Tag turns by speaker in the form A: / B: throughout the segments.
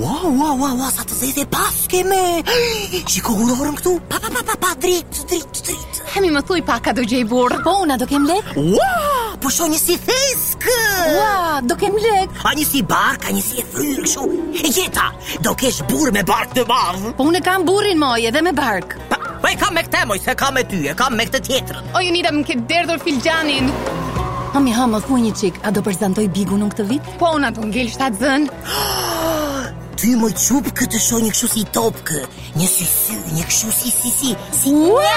A: ua, ua, ua, sa të zezë e pas keme. Shiko urorën këtu, pa, pa, pa, pa, pa, dritë, dritë, dritë.
B: Hemi më thuj pak a do gjej burr.
C: Po, una do kem lek?
A: Ua, po shoh një si theskë.
C: Ua, do kem lek.
A: A një si bark, a një si e fryrë, kështu. E gjeta, do kesh burë me bark të madh.
C: Po unë e kam burrin moj edhe me bark.
A: Pa, pa e kam me këte, moj, se kam me ty, e kam me këtë tjetrën.
B: O, ju nida më ke derdhur filxanin.
C: Hami hama, thuj një qik, a do prezentoj bigu në këtë vit?
B: Po, una do ngel shtatë zën.
A: Ty moj qupë këtë shoh një kështu si topkë, një si sy, një kështu si si si, si një.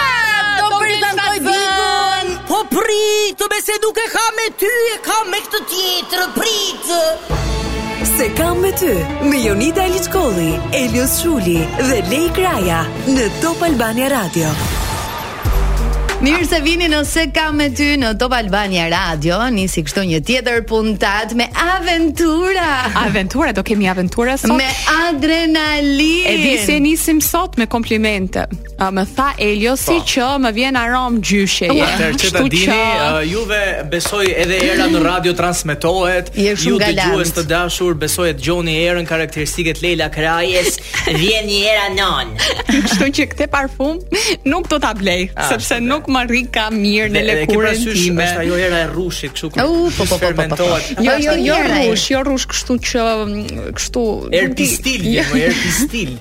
B: Do prezantoj bigun.
A: Po pritë, me se nuk e kam me ty, e kam me këtë tjetrën, pritë.
D: Se kam me ty Me Jonida Eliçkolli, Elios Shuli dhe Lej Kraja Në Top Albania Radio
E: Mirë se vini në Se kam me ty në Top Albania Radio Nisi kështu një tjetër puntat me aventura
B: Aventura, do kemi aventura sot.
E: Me adrenalin
B: E di se nisim sot me komplimente. A, më tha Eliosi
F: Po.
B: që më vjen arom gjysheje.
F: Atëherë që ta
B: Kështu
F: dini, uh, juve besoj edhe era në radio transmetohet.
E: Je shumë
F: Ju
E: galant.
F: dëgjues të dashur, besoj e dëgjoni erën karakteristiket Leila Krajes.
A: Vjen një era non.
B: Kështu që këtë parfum nuk do ta blej, sepse
F: shpëte.
B: nuk më rri ka mirë në
F: Ah, Dhe- dhe ke
B: lëkurën
F: parasysh,
B: time.
F: Është ajo era e rushit, kështu kur.
E: U, po, po, po, po, po.
F: fermentohet.
B: Jo, jo, jo
E: Njëra e.
B: rush, jo rush, kështu që mm, kështu
F: Er
B: nuk di-
F: pistil, jo, er pistil.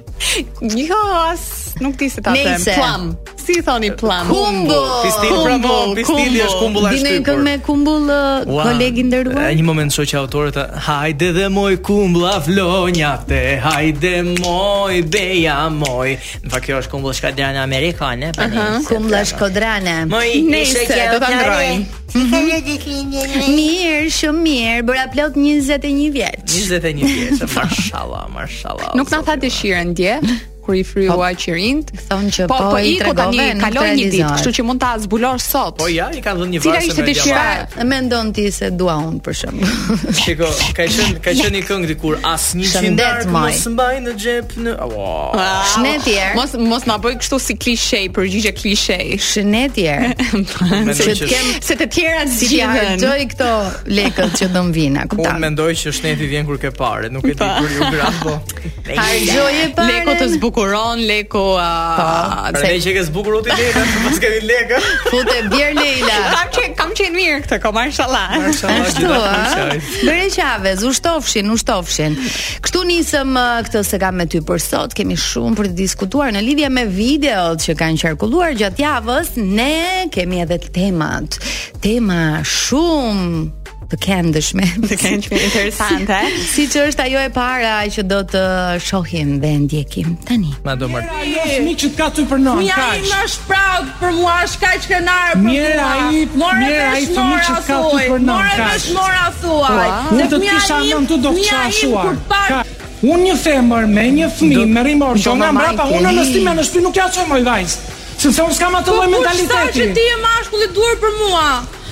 B: Jo, as nuk di se ta them.
E: Nejse.
B: Plum. Si i thoni plum?
E: Kumbu
F: Pistil pra mo, pistili është kumbulla e
E: Dini
F: shtypur.
E: këngë me kumbull
F: Ua,
E: kolegi
F: e,
E: nderuar.
F: Uh, Një moment shoqë autorët Hajde dhe moj kumbla flonjate Hajde moj beja moj Në fakt kjo është kumbull shkadrana amerikane pa ne.
E: Kumbulla shkodrane.
F: Moj
B: Nejse, do ta ndrojmë.
E: Mirë, shumë mirë, bëra plot 21 vjeç.
F: 21 vjeç, mashallah, mashallah.
B: Nuk na tha dëshirën dje kur i fryua qirind.
E: Thonë që
B: Po,
E: po,
B: po
E: i
B: iku tani,
E: tregove në
B: kaloi një ditë,
E: televizor.
B: kështu që mund ta zbulosh sot.
F: Po ja, i kanë dhënë një
B: Cila
F: varse
B: ishte
F: me
B: dëshira?
F: djallë.
E: Mendon ti se dua unë për shemb.
F: Shiko, ka qenë ka qenë një këngë dikur asnjë
E: Shëndet,
F: qindar
E: maj. Ah,
F: mos mbaj në xhep në. Ua.
E: Shnetje.
B: Mos mos na bëj kështu si klishe, përgjigje klishe.
E: Shënetje. Se
F: Mendoj që
E: të kem
B: Se të tjera
E: si ti
B: zgjidhen.
E: harxoj këto lekët që do mvina,
F: Unë
E: kupton?
F: mendoj që shneti vjen kur ke pare, nuk e di kur ju gram po.
E: Harxoj e parën.
B: Leko të zbukuron, leko a,
E: Po.
F: Pra
B: se-
F: ne që ke zbukur ti lekë, pas kemi lekë.
E: Fute bjer Leila.
B: Kam qenë kam qenë mirë këtë, ko mashallah.
E: Ashtu, a? Bëre qavez, ushtofshin, ushtofshin. Kështu nisëm ë, këtë se kam me ty për sot, kemi shumë për të diskutuar në lidhje me videot që kanë qarkulluar gjatë javës. Ne kemi edhe temat. Tema shumë të këndshme. Të
B: Kanë qenë interesante.
E: Si që është ajo e para që do të uh, shohim dhe ndjekim tani.
F: Ma do mërë
G: Fëmi që t'ka ty për nën,
H: Mja
G: kaq.
H: ime është proud për mua, është kaq kënaqë për mua.
G: Mirë ai-
H: More
G: mirë
H: vesh
G: ai fëmijë
H: mora
G: që t'ka ty
H: thuaj,
G: për nën,
H: more
G: kaq.
H: vesh mora thuaj.
G: Unë
H: Dhe
G: do të
H: fëmija
G: kisha
H: Ah. im-
G: nën tu do të
H: fëmija
G: kisha
H: im
G: shuar.
H: kur pak-
G: Kaq. Unë një femër me një fëmijë me rimor që
E: do
G: nga
E: ma
G: mbrapa
E: majke,
G: unë në
E: i.
G: stimë në shtëpi nuk ja çoj moj vajz. Sepse unë s'kam atë
H: Po
G: lloj
H: kush tha
G: mentaliteti.
H: që ti je mashkull i duhur për mua.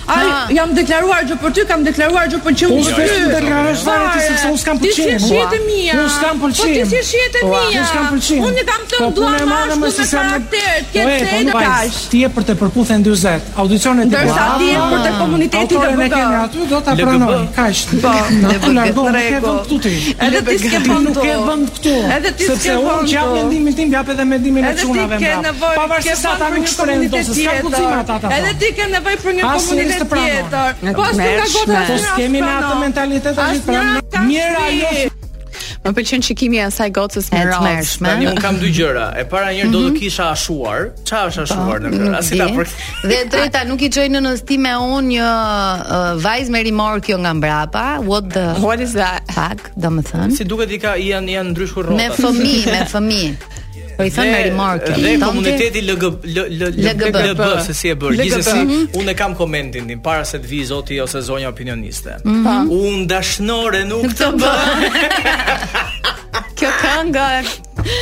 H: Ai
E: Ha.
H: jam deklaruar gjë për ty, kam deklaruar gjë për qëmë
G: Unë
H: për
G: s'kam deklaruar gjë për ti, sepse unë s'kam
H: Ti
G: pëlqim.
H: si shihet e mia.
G: Unë s'kam pëlqim.
H: Po ti si shihet e
G: Ua.
H: mia.
G: Unë s'kam pëlqim.
H: Unë i kam
G: Po,
H: thënë
G: punë
H: dua
G: e marrë,
H: mashkull
G: mos i
H: me
G: s'kam-
H: karakter, ke
G: Po, e, po, më
H: çejnë
G: vajz,
H: kaq.
G: Ti je për të përputhen 40, audicionet e
H: Ndërsa ti je për të komunitetin
G: Autoren e
H: LGBT.
G: kemi aty, do ta pranoj. Kaq. Po, ne po largoj, nuk e vëm këtu ti.
H: Edhe ti s'ke
G: Ti
H: vënë
G: nuk e
H: do.
G: vëm këtu.
H: Edhe ti
G: sepse
H: s'ke
G: unë
H: vënë
G: që jap
H: do.
G: mendimin tim, jap edhe mendimin e
H: Edhe ti
G: çunave
H: ke
G: mbrapa.
H: nevojë, ke
G: Pavarësisht sa
H: fund
G: ata
H: për
G: nuk
H: një
G: shkruajnë do, se s'ka
H: komunitet
G: kuptim
H: tjetër.
G: ata ata.
H: Edhe ti ke nevojë për një
G: Asnjëri
H: komunitet
G: s'të pranon.
H: tjetër. Po as nuk ka
B: Mershme.
H: gota.
G: Po s'kemi ne atë mentalitet aty pranë. Mirë ajo.
B: Më pëlqen shikimi i asaj gocës me
E: E të
B: rozë.
E: mërshme.
F: Tani un kam dy gjëra. E para njëherë do të kisha ashuar. Ç'a është ashuar në këtë rast? Si ta
E: Mm, Di.
F: për
E: Mhm. Dhe e treta nuk i çoj në nëstime unë një uh, vajzë me rimor kjo nga mbrapa. What the
B: What is that?
E: fuck, do më thënë.
F: si duket i ka janë janë ndryshur
E: Me
F: rrotat.
E: fëmi, me fëmi. Po i thënë me rimor kjo.
F: Dhe
E: Thonë ti,
F: komuniteti LGB L- L-
E: LGB.
F: LGB se si e bër.
B: LGB.
F: Gjithsesi,
E: Mhm.
F: unë e kam komentin tim para se të vi zoti ose zonja opinioniste.
E: Mhm.
F: Unë dashnore nuk të bëj.
B: Kjo këngë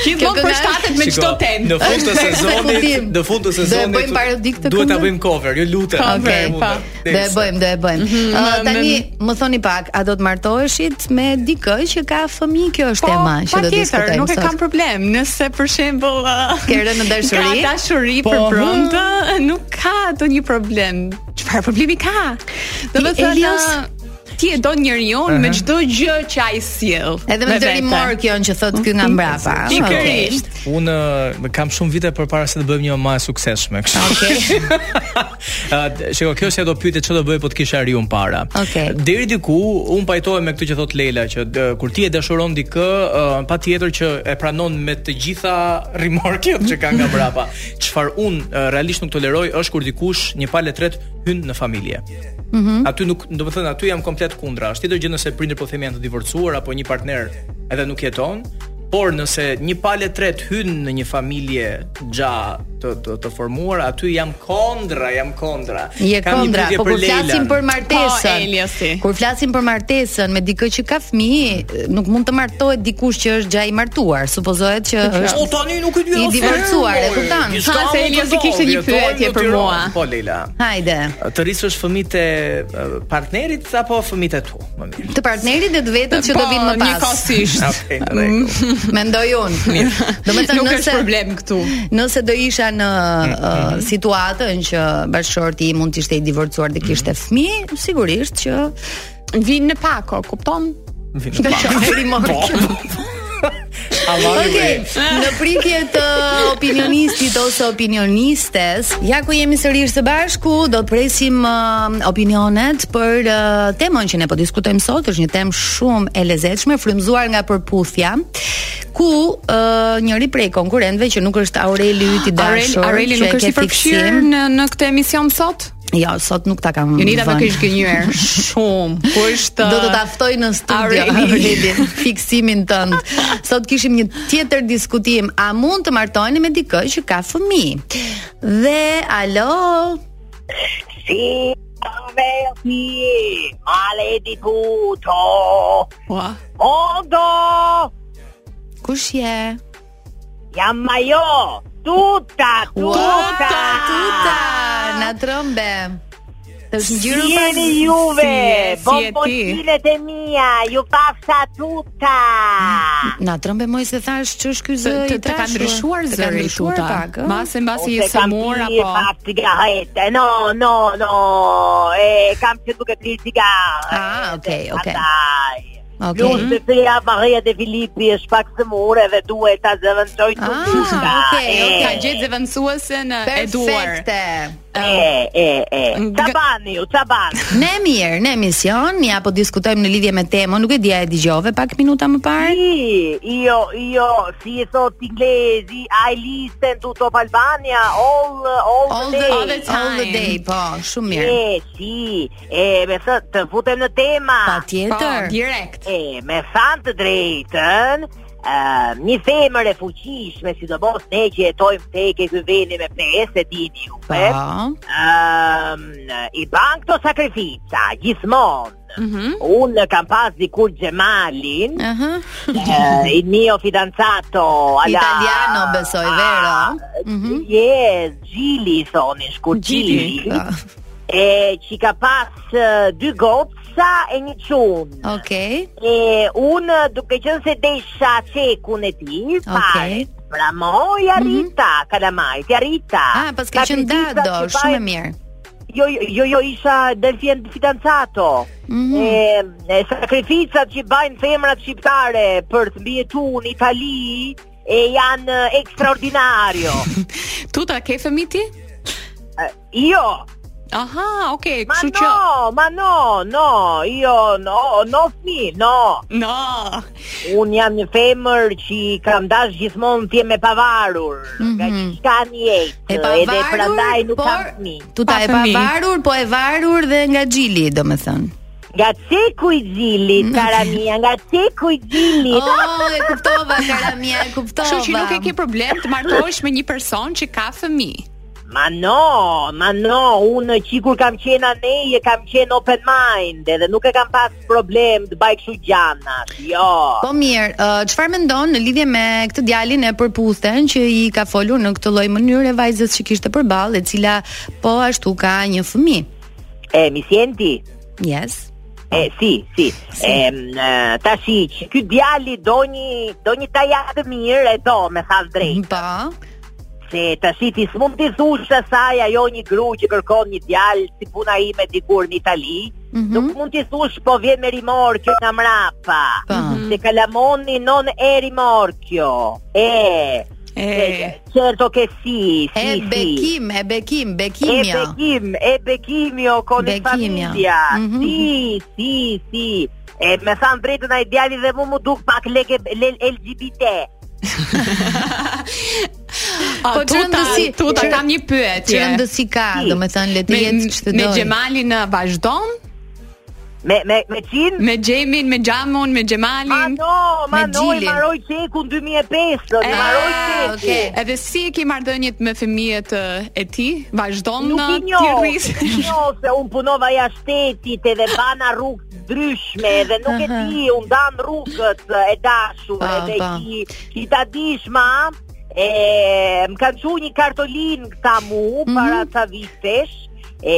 B: gjithmonë
E: kënga-
B: përshtatet me
F: Shiko,
B: çdo
F: Në
B: temë.
F: fund të
E: Është
F: sezonit,
E: ekzekutim.
F: në fund të
E: Do e
F: sezonit
E: bëjmë parodik të
F: Duhet ta
E: këngës?
F: bëjmë cover, ju lutem.
E: Okej,
F: Mund
E: pa.
F: ta-
E: Do e bëjmë, do e bëjmë.
F: Mhm.
E: Ë, tani më thoni pak, a do të martoheshit me dikë që ka fëmijë? Kjo
F: Po,
E: është tema që do të diskutojmë
B: Po, nuk e
E: sot.
B: kam problem. Nëse për shembull uh,
E: Ke rënë në dashuri? Po,
B: Ka dashuri për promtë, nuk ka ndonjë problem. Çfarë problemi ka?
E: Ti,
B: Do të thënë
E: Elios,
B: uh,
E: ti
B: ti e don njeriu me çdo gjë që ai sjell.
E: Edhe me dërimor kjo që thot ky
B: Mhm.
E: nga mbrapa. ah, okay.
B: Pikërisht.
F: Unë uh, kam shumë vite përpara se të bëjmë një më e suksesshme kështu. Okej. Okay. Shiko, kjo se do pyetë ç'do bëj po të kisha riun para.
E: Okej.
F: Deri diku un pajtohem me këtë që thot Leila që dë, kur ti e dashuron dikë, uh, patjetër që e pranon me të gjitha rimorkjet që ka nga brapa. Çfarë un uh, realisht nuk toleroj është kur dikush një palë tret hyn në familje.
E: Mhm.
F: Aty nuk, do të thënë, aty jam komplet kundra. Është tjetër gjë nëse prindër po themi janë të divorcuar apo një partner edhe nuk jeton, por nëse një palë tret hyn në një familje gja të të, të formuar, aty jam kondra, jam kondra.
E: Je
F: Kam një
E: kondra,
F: pyetje
E: po kur
F: Leilan.
E: flasim për martesën.
B: Po, Elia, si.
E: Kur flasim për martesën me dikë që ka fëmijë, nuk mund të martohet dikush që është gjaj i martuar, supozohet që është
F: O Po tani nuk e di.
E: I
F: asë
E: divorcuar,
F: herë,
E: e kupton.
F: moj. Diçka
B: Ha, se
F: mund të
B: Elias i
F: ndodhë,
B: kishte një
F: jetojmë
B: pyetje
F: në
B: për
F: Tiranë.
B: mua.
F: Po Leila.
E: Hajde.
F: Të rrisësh fëmijët e eh, partnerit apo fëmijët e tu, më mirë.
E: Të partnerit dhe të vetët që do vinë më
B: Po, Një
E: pas.
B: kosisht.
F: Okej, në rregull.
E: Mendoj unë. Do të
B: Nuk
E: thënë
B: është
E: nëse
B: problem Mm, këtu.
E: Nëse do isha në uh, situatën që bashkëshorti im mund të ishte i divorcuar dhe kishte
B: Mm.
E: fëmijë, sigurisht që
B: Vinë në pako, kupton?
F: Vinë në pak. Po, Allah ju
E: Okej,
F: bëj.
E: në pritje të opinionistit ose opinionistes, ja ku jemi sërish së bashku, do të presim uh, opinionet për uh, temën që ne po diskutojmë sot, është një temë shumë e lezetshme, frymzuar nga përputhja, ku uh, njëri prej konkurrentëve që nuk është Aureli yti
B: Areli,
E: dashur,
B: Areli
E: që
B: nuk
E: e
B: është i
E: ke
B: përfshirë
E: fiksim.
B: në në këtë emision sot?
E: Jo, sot nuk ta kam.
B: Jonida do
E: vënë.
B: kish gënjur shumë. Ku është
E: Do të ta ftoj në studio
B: Aureli.
E: Aurelin, fiksimin tënd. Sot kishim një tjetër diskutim, a mund të martoheni me dikë që ka fëmijë? Dhe alo,
I: Si vesti male di tutto
B: Ua.
I: Ondo
E: kush je?
I: Chiama io Tutta
E: Tuta,
I: Tutta
E: na trombe. Të është ngjyrë pra
I: Vieni Juve
B: Sì, sì, è
I: Bomboncine de mia Ju passa tutta
E: Na trombe moj se thash ç'është ky
B: Të,
E: zë
B: të,
E: i
B: të ka
E: dashur.
B: ndryshuar
E: Të ka
B: zëri
E: ndryshuar
B: tuta.
E: pak, ë?
B: Mbase mbasi je
I: Se kam
B: sëmur
I: pirë
B: apo
I: pa cigarette No, no, no E kam që duke pri cigarette
E: Ah, okay, okay.
I: Andaj
E: Okej.
I: Plus se feja Maria de Filippi është pak së more dhe duhet ta zëvendësoj të
E: Ah,
I: gjitha.
E: okay,
I: E,
E: okay.
B: Jo, Ka gjetë zëvendësuese në eduar.
E: Perfekte.
I: E, e, e.
B: Nga-
I: Ça bani ju, ça bani?
E: Ne mirë, në emision, ja po diskutojmë në lidhje me temën, nuk e dia e dëgjove pak minuta më parë.
I: Sì, io, io, si thot inglesi, I listen to Top Albania all, all,
E: All the,
I: day.
E: all the time. All the day, po, shumë mirë.
I: E, si, e, me thë, të futem në tema.
E: Pa
B: Po,
E: tjetër.
B: direkt.
I: E, me thënë të drejtën, Uh, një femër e fuqishme, sidomos ne që jetojmë tek e ky vendi me pesë, e dini ju.
E: Po.
I: e? Ëm, i ban këto sakrifica gjithmonë.
E: Mhm.
I: Unë kam pas dikur Gjemalin,
E: Aha.
I: eh, il mio fidanzato alla...
E: Italiano, besoj, Mhm.
I: Ah, Yes, Gjili i thonin, shkur Gjili.
E: Po.
I: E që ka pas eh, dy gopsa e një qunë.
E: Okej.
I: E unë duke qenë se desha qekun e ti, pare. Pra moj, arrita, kalamajt, arrita.
E: Ah, pas ka qenë dado, shumë e mirë.
I: Jo, jo, jo, isha delfien fidanzato. E, e sakrificat që bajnë femrat shqiptare për të mbijetuar në Itali e janë e, ekstraordinario.
B: Tuta ke fëmijë ti?
I: E, jo,
B: Aha, okay,
I: ma
B: kështu që
I: no, ma no, no, jo, no, no fmi, no.
B: No.
I: Unë jam një femër që kam dash gjithmonë tje me pavarur, nga që ka një jetë,
E: Mhm. E
I: edhe
E: pra
I: prandaj
E: pavarur,
I: nuk
E: por
I: kam fmi.
E: tuta
B: Pa
E: e
B: fëmijë.
E: pavarur, po e varur dhe nga Xhili, domethënë.
I: Nga ceku i gjilit, para mia, nga ceku i gjilit.
E: Oh, e kuptova Karamia, e kuptova.
B: Kështu që nuk e ke problem të martohesh me një person që ka fëmijë.
I: Ma no, ma no, unë që kur kam qenë anej e kam qenë open mind edhe nuk e kam pas problem të baj kështu gjanat, jo.
E: Po mirë, ë, çfarë mendon në lidhje me këtë djalin e përputhen që i ka folur në këtë lloj mënyre vajzës që kishte përballë, e cila po ashtu ka një fëmijë?
I: E, mi sjenti?
E: Yes.
I: E, si, si. E, m, e, tashi, që ky djali do një, do një tajat të mirë e do, me thash drejt.
E: Po.
I: Se tashi ti s'mund t'i thush se saj ajo një gru që kërkon një djalë si puna ime dikur në Itali,
E: Mhm.
I: Nuk mund t'i thush po vjen me rimor kjo nga mrapa.
E: Mhm.
I: Se kalamoni non e rimor kjo. E.
B: E.
I: se- Certo che sì, sì,
E: E
I: sì.
E: bekim, e bekim,
I: E
E: bekimja.
I: Bekim, e Bekimio con il
E: Bekimja.
I: famigja.
E: Mhm.
I: Si, si, si. E me thanë drejtën ai djali dhe mu më duk pak leke le- LGBT.
B: Po
E: Po
B: tuta,
E: çrëndësi-
B: tuta
E: çrë-
B: kam një pyetje.
E: Që ndësi ka,
I: Si.
E: do me thënë le të
B: Me,
E: jetë që të
B: me
E: dojë.
B: Gjemalin uh, vazhdon,
I: Me me me Çin?
B: me Gjemin, me Gjamun, me
I: Ma
B: Gjemalin.
I: Ah, no, ma
E: me
I: no, i
E: Gjilin.
I: maroj qekun 2005, do i
B: Ah,
I: maroj qekun.
E: okay.
B: Edhe si e ke marrëdhëniet me fëmijët uh, e ti? Vazhdon
I: Nuk
B: në
I: i
B: ti
I: njoh,
B: rris.
I: nuk i njoh se unë punova jashtë shtetit edhe bana rrugë të ndryshme dhe nuk e di, unë dam rrugët e dashur
E: Pa,
I: edhe
E: pa.
I: ki, ki ta dish ma, e, më kanë që një kartolin këta mu para ca vitesh, e,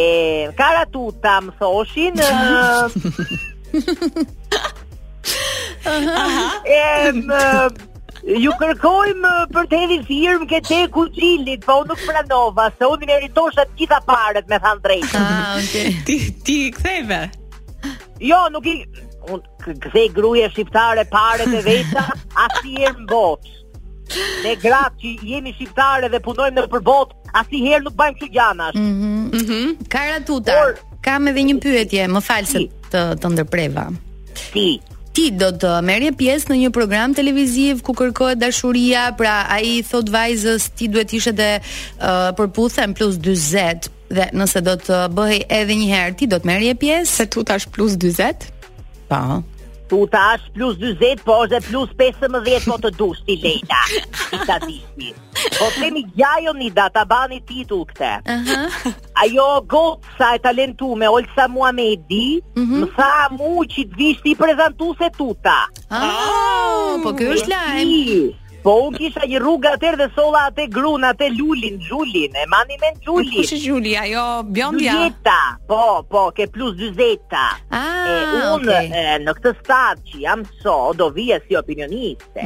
I: karatuta më thoshin, e, më, Ju kërkojmë për të hedhin firmë ke te ku gjilit, po unë nuk pranova, se unë meritosha të gjitha parët, me thanë drejtë.
E: Ah, okay.
B: ti ti i ktheve.
I: Jo, nuk i... Unë k- kthej gruje shqiptare parët e veta, asnjëherë në botë. Ne gratë që jemi shqiptare dhe punojmë në përbot, asnjëherë nuk bajmë kështu gjanash.
E: Karatuta,
I: Por-
E: kam edhe një pyetje, më falë se
I: Si.
E: të, të ndërpreva.
I: Ti,
E: Ti do të merje pjesë në një program televiziv ku kërkohet dashuria, pra ai thot vajzës ti duhet ishe dhe uh, përputhen plus 40 dhe nëse do të bëhej edhe një herë ti do të merje pjesë?
B: Se tuta është plus 40.
E: Po.
I: tu tash plus 40, po është dhe plus 15, po të dush ti lejta, ti ta dishti. Po temi gjajo një data, bani titull këte. ajo gotësa e talentume Olsa Muhamedi, më tha mu që të vish ti prezantuese tuta.
E: Ah, po ky është lajm.
I: I, Po unë kisha një rrugë atër dhe sola atë grun, atë lulin, gjulin, e mani me në
B: Kush
I: gjulin.
B: është Julia? Jo, Bjondja.
I: Gjuleta, po, po, ke plus 40 ta.
E: Ah,
I: E, unë
E: okay.
I: e, në këtë stad që jam so, do vija si opinioniste.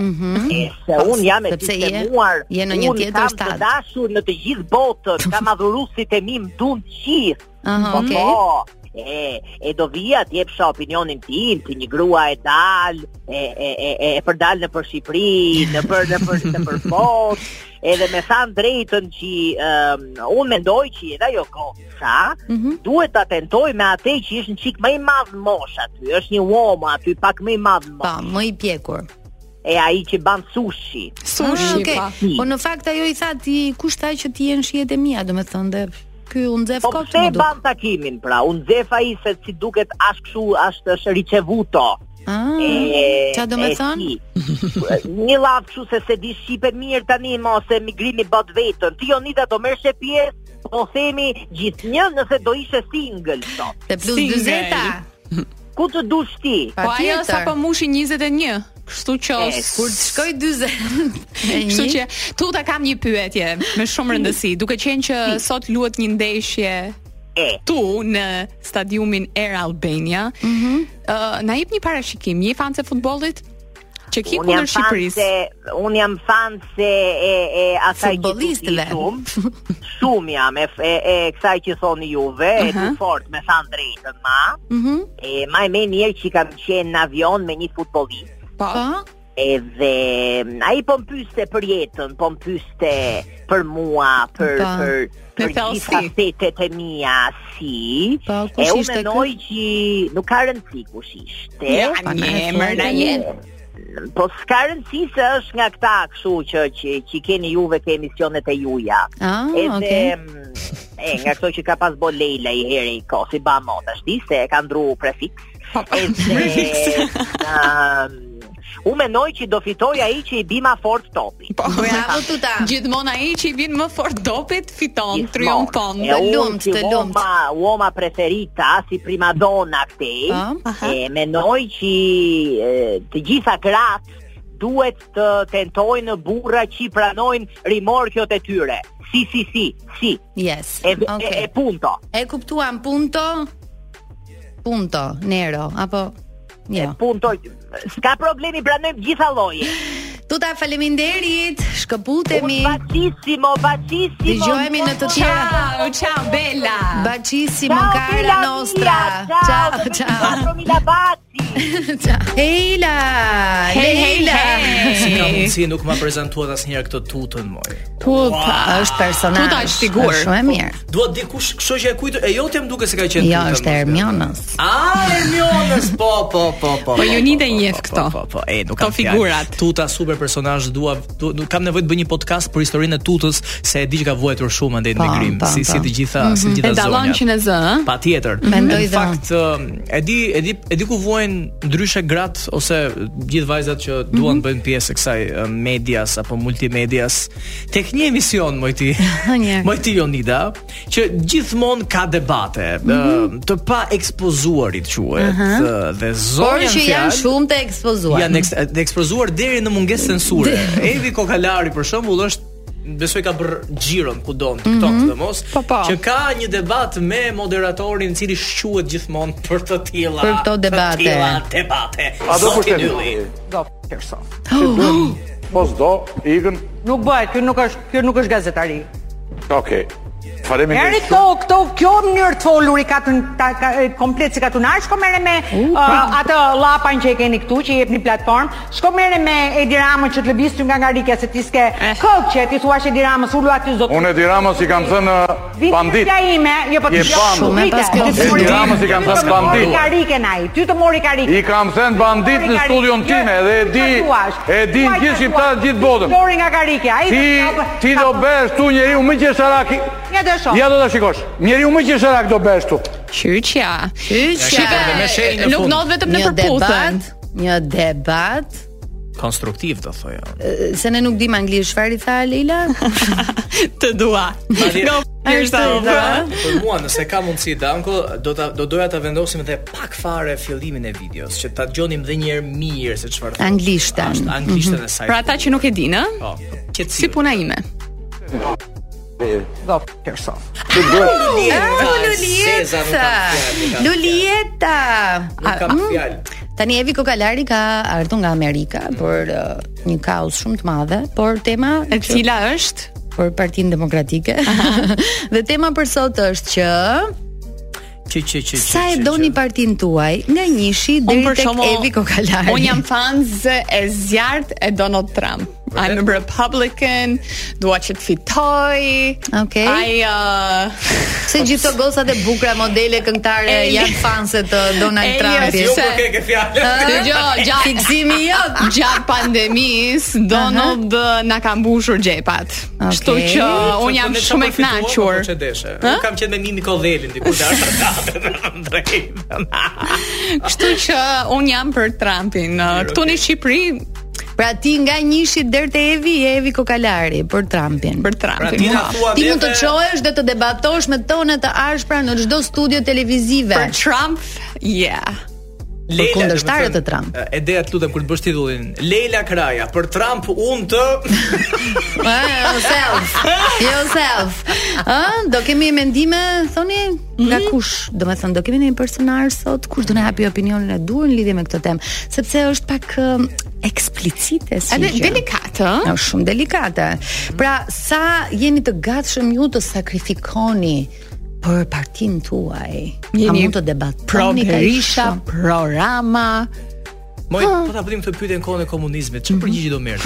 I: E, se
E: Po,
I: unë jam e
E: sepse je-
I: sistemuar,
E: je në një
I: unë
E: tjetër
I: kam të
E: stad.
I: dashur në të gjithë botën, kam adhurusit e mi më dunë qithë.
E: Aha,
I: Po,
E: okay.
I: po, e, e do vija të jepsha opinionin tim, ti një grua e dal, e, e, e, e e përdal në për Shqipëri, në për, në për, në për botë, edhe me thanë drejtën që um, unë mendoj që edhe ajo kosa,
E: Mhm.
I: duhet të tentoj me atë që ishë në qikë më i madhë mosh aty, është një uomo aty, pak më i
E: Po,
I: madhë mosh,
E: më i pjekur.
I: e aji që banë sushi.
B: Sushi,
E: okay.
B: pa.
E: Po në fakt ajo i tha ti kush tha që ti je në shihet e mia, domethënë dhe ky u nxef
I: Po
E: kokë
I: pse
E: më
I: e
E: duk.
I: ban takimin pra, unë zefa i se si duket ashtë këshu, ashtë është ricevuto.
E: Ah.
I: E,
E: Qa do me
I: Mm-hmm. e
E: thënë?
I: si. Një lavë kështu se se di Shqipe mirë tani mos e migrimi bot vetën. Ti Jonida do merrshe pjesë, po themi gjithnjë nëse do ishe single sot.
E: Te plus
B: Single.
E: 40-a.
I: Ku të dush ti?
E: Pa
B: Po ajo
E: tjetër.
B: sa po mushi 21. Kështu që
I: E,
E: Kur të shkoj 40. e një,
B: Kështu që tuta kam një pyetje me shumë rëndësi, duke qenë që sot luhet një ndeshje
I: E.
B: tu në stadiumin Air Albania. Ëh,
I: Mhm.
B: na jep një parashikim, je fan se futbollit që ki
I: Unë
B: kundër
I: jam fan se
B: Shqipërisë.
I: unë jam fan se e e asaj që tu ti
E: Futbollistëve.
I: shumë. Shumë jam e e, e kësaj që thoni juve, e të fort me fan drejtën ma.
E: Mhm.
I: E më më njëherë që kam qenë në avion me një futbollist.
B: Po.
E: Po,
I: Edhe a i po më pyste për jetën, po më pyste për mua, për,
E: Pa,
I: për,
B: me
I: për
B: thellësi.
I: facetet e mia, si.
E: Pa,
I: e
E: kush
I: unë
E: ishte
I: mendoj që nuk ka rëndësi kush ishte.
B: Ja,
E: pa,
B: një
E: na e
B: emër na
E: thuaj.
B: jep.
I: Po s'ka rëndësi se është nga këta kështu që, që, që keni juve ke emisionet e juja.
E: Ah,
I: Edhe,
E: okay.
I: m, e, nga këto që ka pas bo Leila i heri i kosi ba mot, është ti, se e ka ndru prefiks.
B: Po,
I: Edhe, um, u menoj që do fitoj ai që i bima fort topi.
B: Po.
E: Bravo tuta.
B: Gjithmonë ai që i vjen më fort dopit fiton,
I: Gjithmonë.
B: triumfon.
I: E unë
E: lumt,
I: si
E: të lumt.
I: Uoma, uoma preferita, si primadona këtej,
E: Ah,
I: e menoj që e, të gjitha kratë duhet të tentojnë burra që i pranojnë rimorkjot e tyre. Si, si, si, si.
E: Yes.
I: E, e,
E: okay.
I: e punto.
E: E kuptuam punto. Punto, Nero apo jo.
I: Punto. S'ka problemi, pranojmë gjitha lloje.
E: Tuta faleminderit. Shkëputemi.
I: Bacissimo, bacissimo.
E: Dëgjohemi në të tjera.
B: Ciao, ciao bella.
E: Bacissimo cara nostra. Ciao, ciao.
I: Mila Baci.
E: Hela.
B: Hey, hey,
E: Hela.
F: Si ka
B: hey.
F: mundësi nuk ma prezentuat asnjëherë këtë tutën moj.
B: Tuta.
E: Është personazh.
B: Tuta është figur.
E: Shumë e mirë.
F: Duhet dikush, kështu që e kujtë, e jote më duke se ka qenë
E: Jo,
F: tutën,
E: është
F: mos
E: Hermionës.
F: bja. A, Hermionës, po, po, po, po.
B: Po, ju nite
F: po, po,
B: njeh
F: po,
B: këto.
F: Po, po, po, e, nuk
B: Këto
F: kam fjalë.
B: figurat.
F: Tuta super personazh, dua du, nuk kam nevojë të bëj një podcast për historinë e tutës se e di që ka vuajtur shumë andaj në
E: Po,
F: migrim,
E: po,
F: si
E: po.
F: si të gjitha, si
B: Mhm.
F: të
B: E
F: gjitha
B: dallon
F: zonjat.
B: që në zë, ëh?
F: Patjetër.
E: Mendoj dhe
F: Në
E: unë.
F: fakt ë, e di e di e di ku vuajnë ndryshe grat ose gjithë vajzat që
E: Mhm.
F: duan të bëjnë pjesë e kësaj ë, medias apo multimedias tek një emision moj ti.
E: Njëherë.
F: moj ti Jonida, që gjithmonë ka debate
E: Mhm.
F: ë, të pa ekspozuarit quhet ë, dhe
E: Por
F: zonja
E: që janë
F: fjalë-
E: shumë të ekspozuar.
F: janë eks, të ekspozuar deri në mungesë censure. Evi Kokalari për shembull është besoj ka bër xhiron ku don TikTok dhe mos
B: Po, po.
F: që ka një debat me moderatorin i cili shquhet gjithmonë për të tilla
E: Për këto debate.
F: Të tilla debate.
J: A do
F: Zoti
J: pushteti?
F: Dylli.
J: Mos do, ikën.
H: Nuk bëhet, kjo nuk është, kjo nuk është gazetari.
J: Okej. Faleminderit.
H: Eri këto, këto, kjo mënyrë të folur i ka të ta- ka- e, komplet si ka të nashko mere me uh,
B: pra.
H: atë llapan që e keni këtu, që i jepni platformë, shko mere me Edi Ramën që të lëbiz ty nga nga rikja se ti s'ke kokë Po, që ti thua Edi Ramës, ulu aty zot.
J: Unë Edi Ramos i kam thënë uh,
H: Vini
J: bandit.
H: nga ime, jo po
J: Je
H: ti
J: bandu.
E: Shumë e paskë-
J: Edi Ramës i kam thënë bandit.
H: Ka rikën ai, ty të mori ka rikën.
J: I kam thënë bandit në studion time dhe e di e di gjithë shqiptarët gjithë botën.
H: Mori nga Karike, ai
J: Ti ti do bësh tu njeriu më qesharak.
H: Ja do shoh.
J: Ja do ta shikosh. Njeriu më qesharak do bësh tu.
B: Qyçja.
E: Qyçja.
F: Me shenjë në
B: Nuk
F: fund.
B: ndodh vetëm në
E: Një
B: përputhen.
E: debat, një debat
F: Konstruktiv do thoja.
E: se ne nuk dim anglisht çfarë i tha Leila.
B: Të dua.
F: Madje-
B: Go. Është
E: Është
F: Për mua nëse ka mundësi Danko, do ta do doja ta vendosim edhe pak fare fillimin e videos, që ta dëgjonim edhe një herë mirë se çfarë thotë.
E: Anglishtën.
F: Ashtë, Anglishtën e saj.
B: Për Pra ata që nuk e dinë, ëh?
F: Po,
B: Si
F: qetësi.
B: puna ime.
H: do person.
F: Seza nuk ka fjalë, nuk ka
E: Lulieta.
F: Nuk
E: A,
F: kam
E: mm,
F: fjalë.
E: Tani Evi Kokalari ka ardhur nga Amerika për uh, një kauz shumë të madhe, por tema
B: E cila është?
E: për Partinë Demokratike. dhe tema për sot është që
F: Që që që
E: sa e doni partinë tuaj nga Njishi deri tek Evi Kokalari.
B: un jam fans e zjarrt e Donald Trump. I'm a Republican, dua që të fitoj.
E: Okej.
B: Ai uh,
E: Se gjithë këto gocat e bukura modele këngëtare
B: Eli-
E: janë fanse të Donald
B: Eli
E: Trumpit.
B: është-
F: Jo, po ke ke fjalë.
B: Dëgjoj, gjatë fiksimi jot gjatë pandemisë Donald uh, na ka mbushur xhepat. Kështu
E: Okej.
B: që un jam shumë e kënaqur.
F: Unë kam qenë me Mimi Kodhelin diku lart. Drejt.
B: Kështu që un jam për Trumpin. Uh, Këtu në Shqipëri
E: Pra ti nga Njishi deri te Evi, je Evi Kokalari për Trumpin.
B: për
F: Pra ti
B: Trumpin.
F: na
B: mua.
F: thua
E: Ti mund të
F: neve-
E: çohesh dhe të debatosh me tone të ashpra në çdo studio televizive.
B: Për Trump, yeah.
F: Leila,
E: Për kundërshtarët
F: do me
E: e Trump.
F: thënë, E dea të lutem kur të bësh titullin Leila Kraja për Trump unë të
E: Ah, Yourself. Yourself. Ë, do kemi mendime thoni nga kush? Do të thënë do kemi një personazh sot kush do na hapi opinionin e dur në lidhje me këtë temë, sepse është pak ë, eksplicite si.
B: Edhe
E: gjë.
B: delikatë, ëh?
E: Është shumë delikate. Pra, sa jeni të gatshëm ju të sakrifikoni për partinë tuaj? A
B: Jeni
E: mund të debatoni ka
B: Properisha, prorama,
F: Moj, po ta bëjmë këtë pyetje në kohën e komunizmit. Çfarë përgjigje do merr?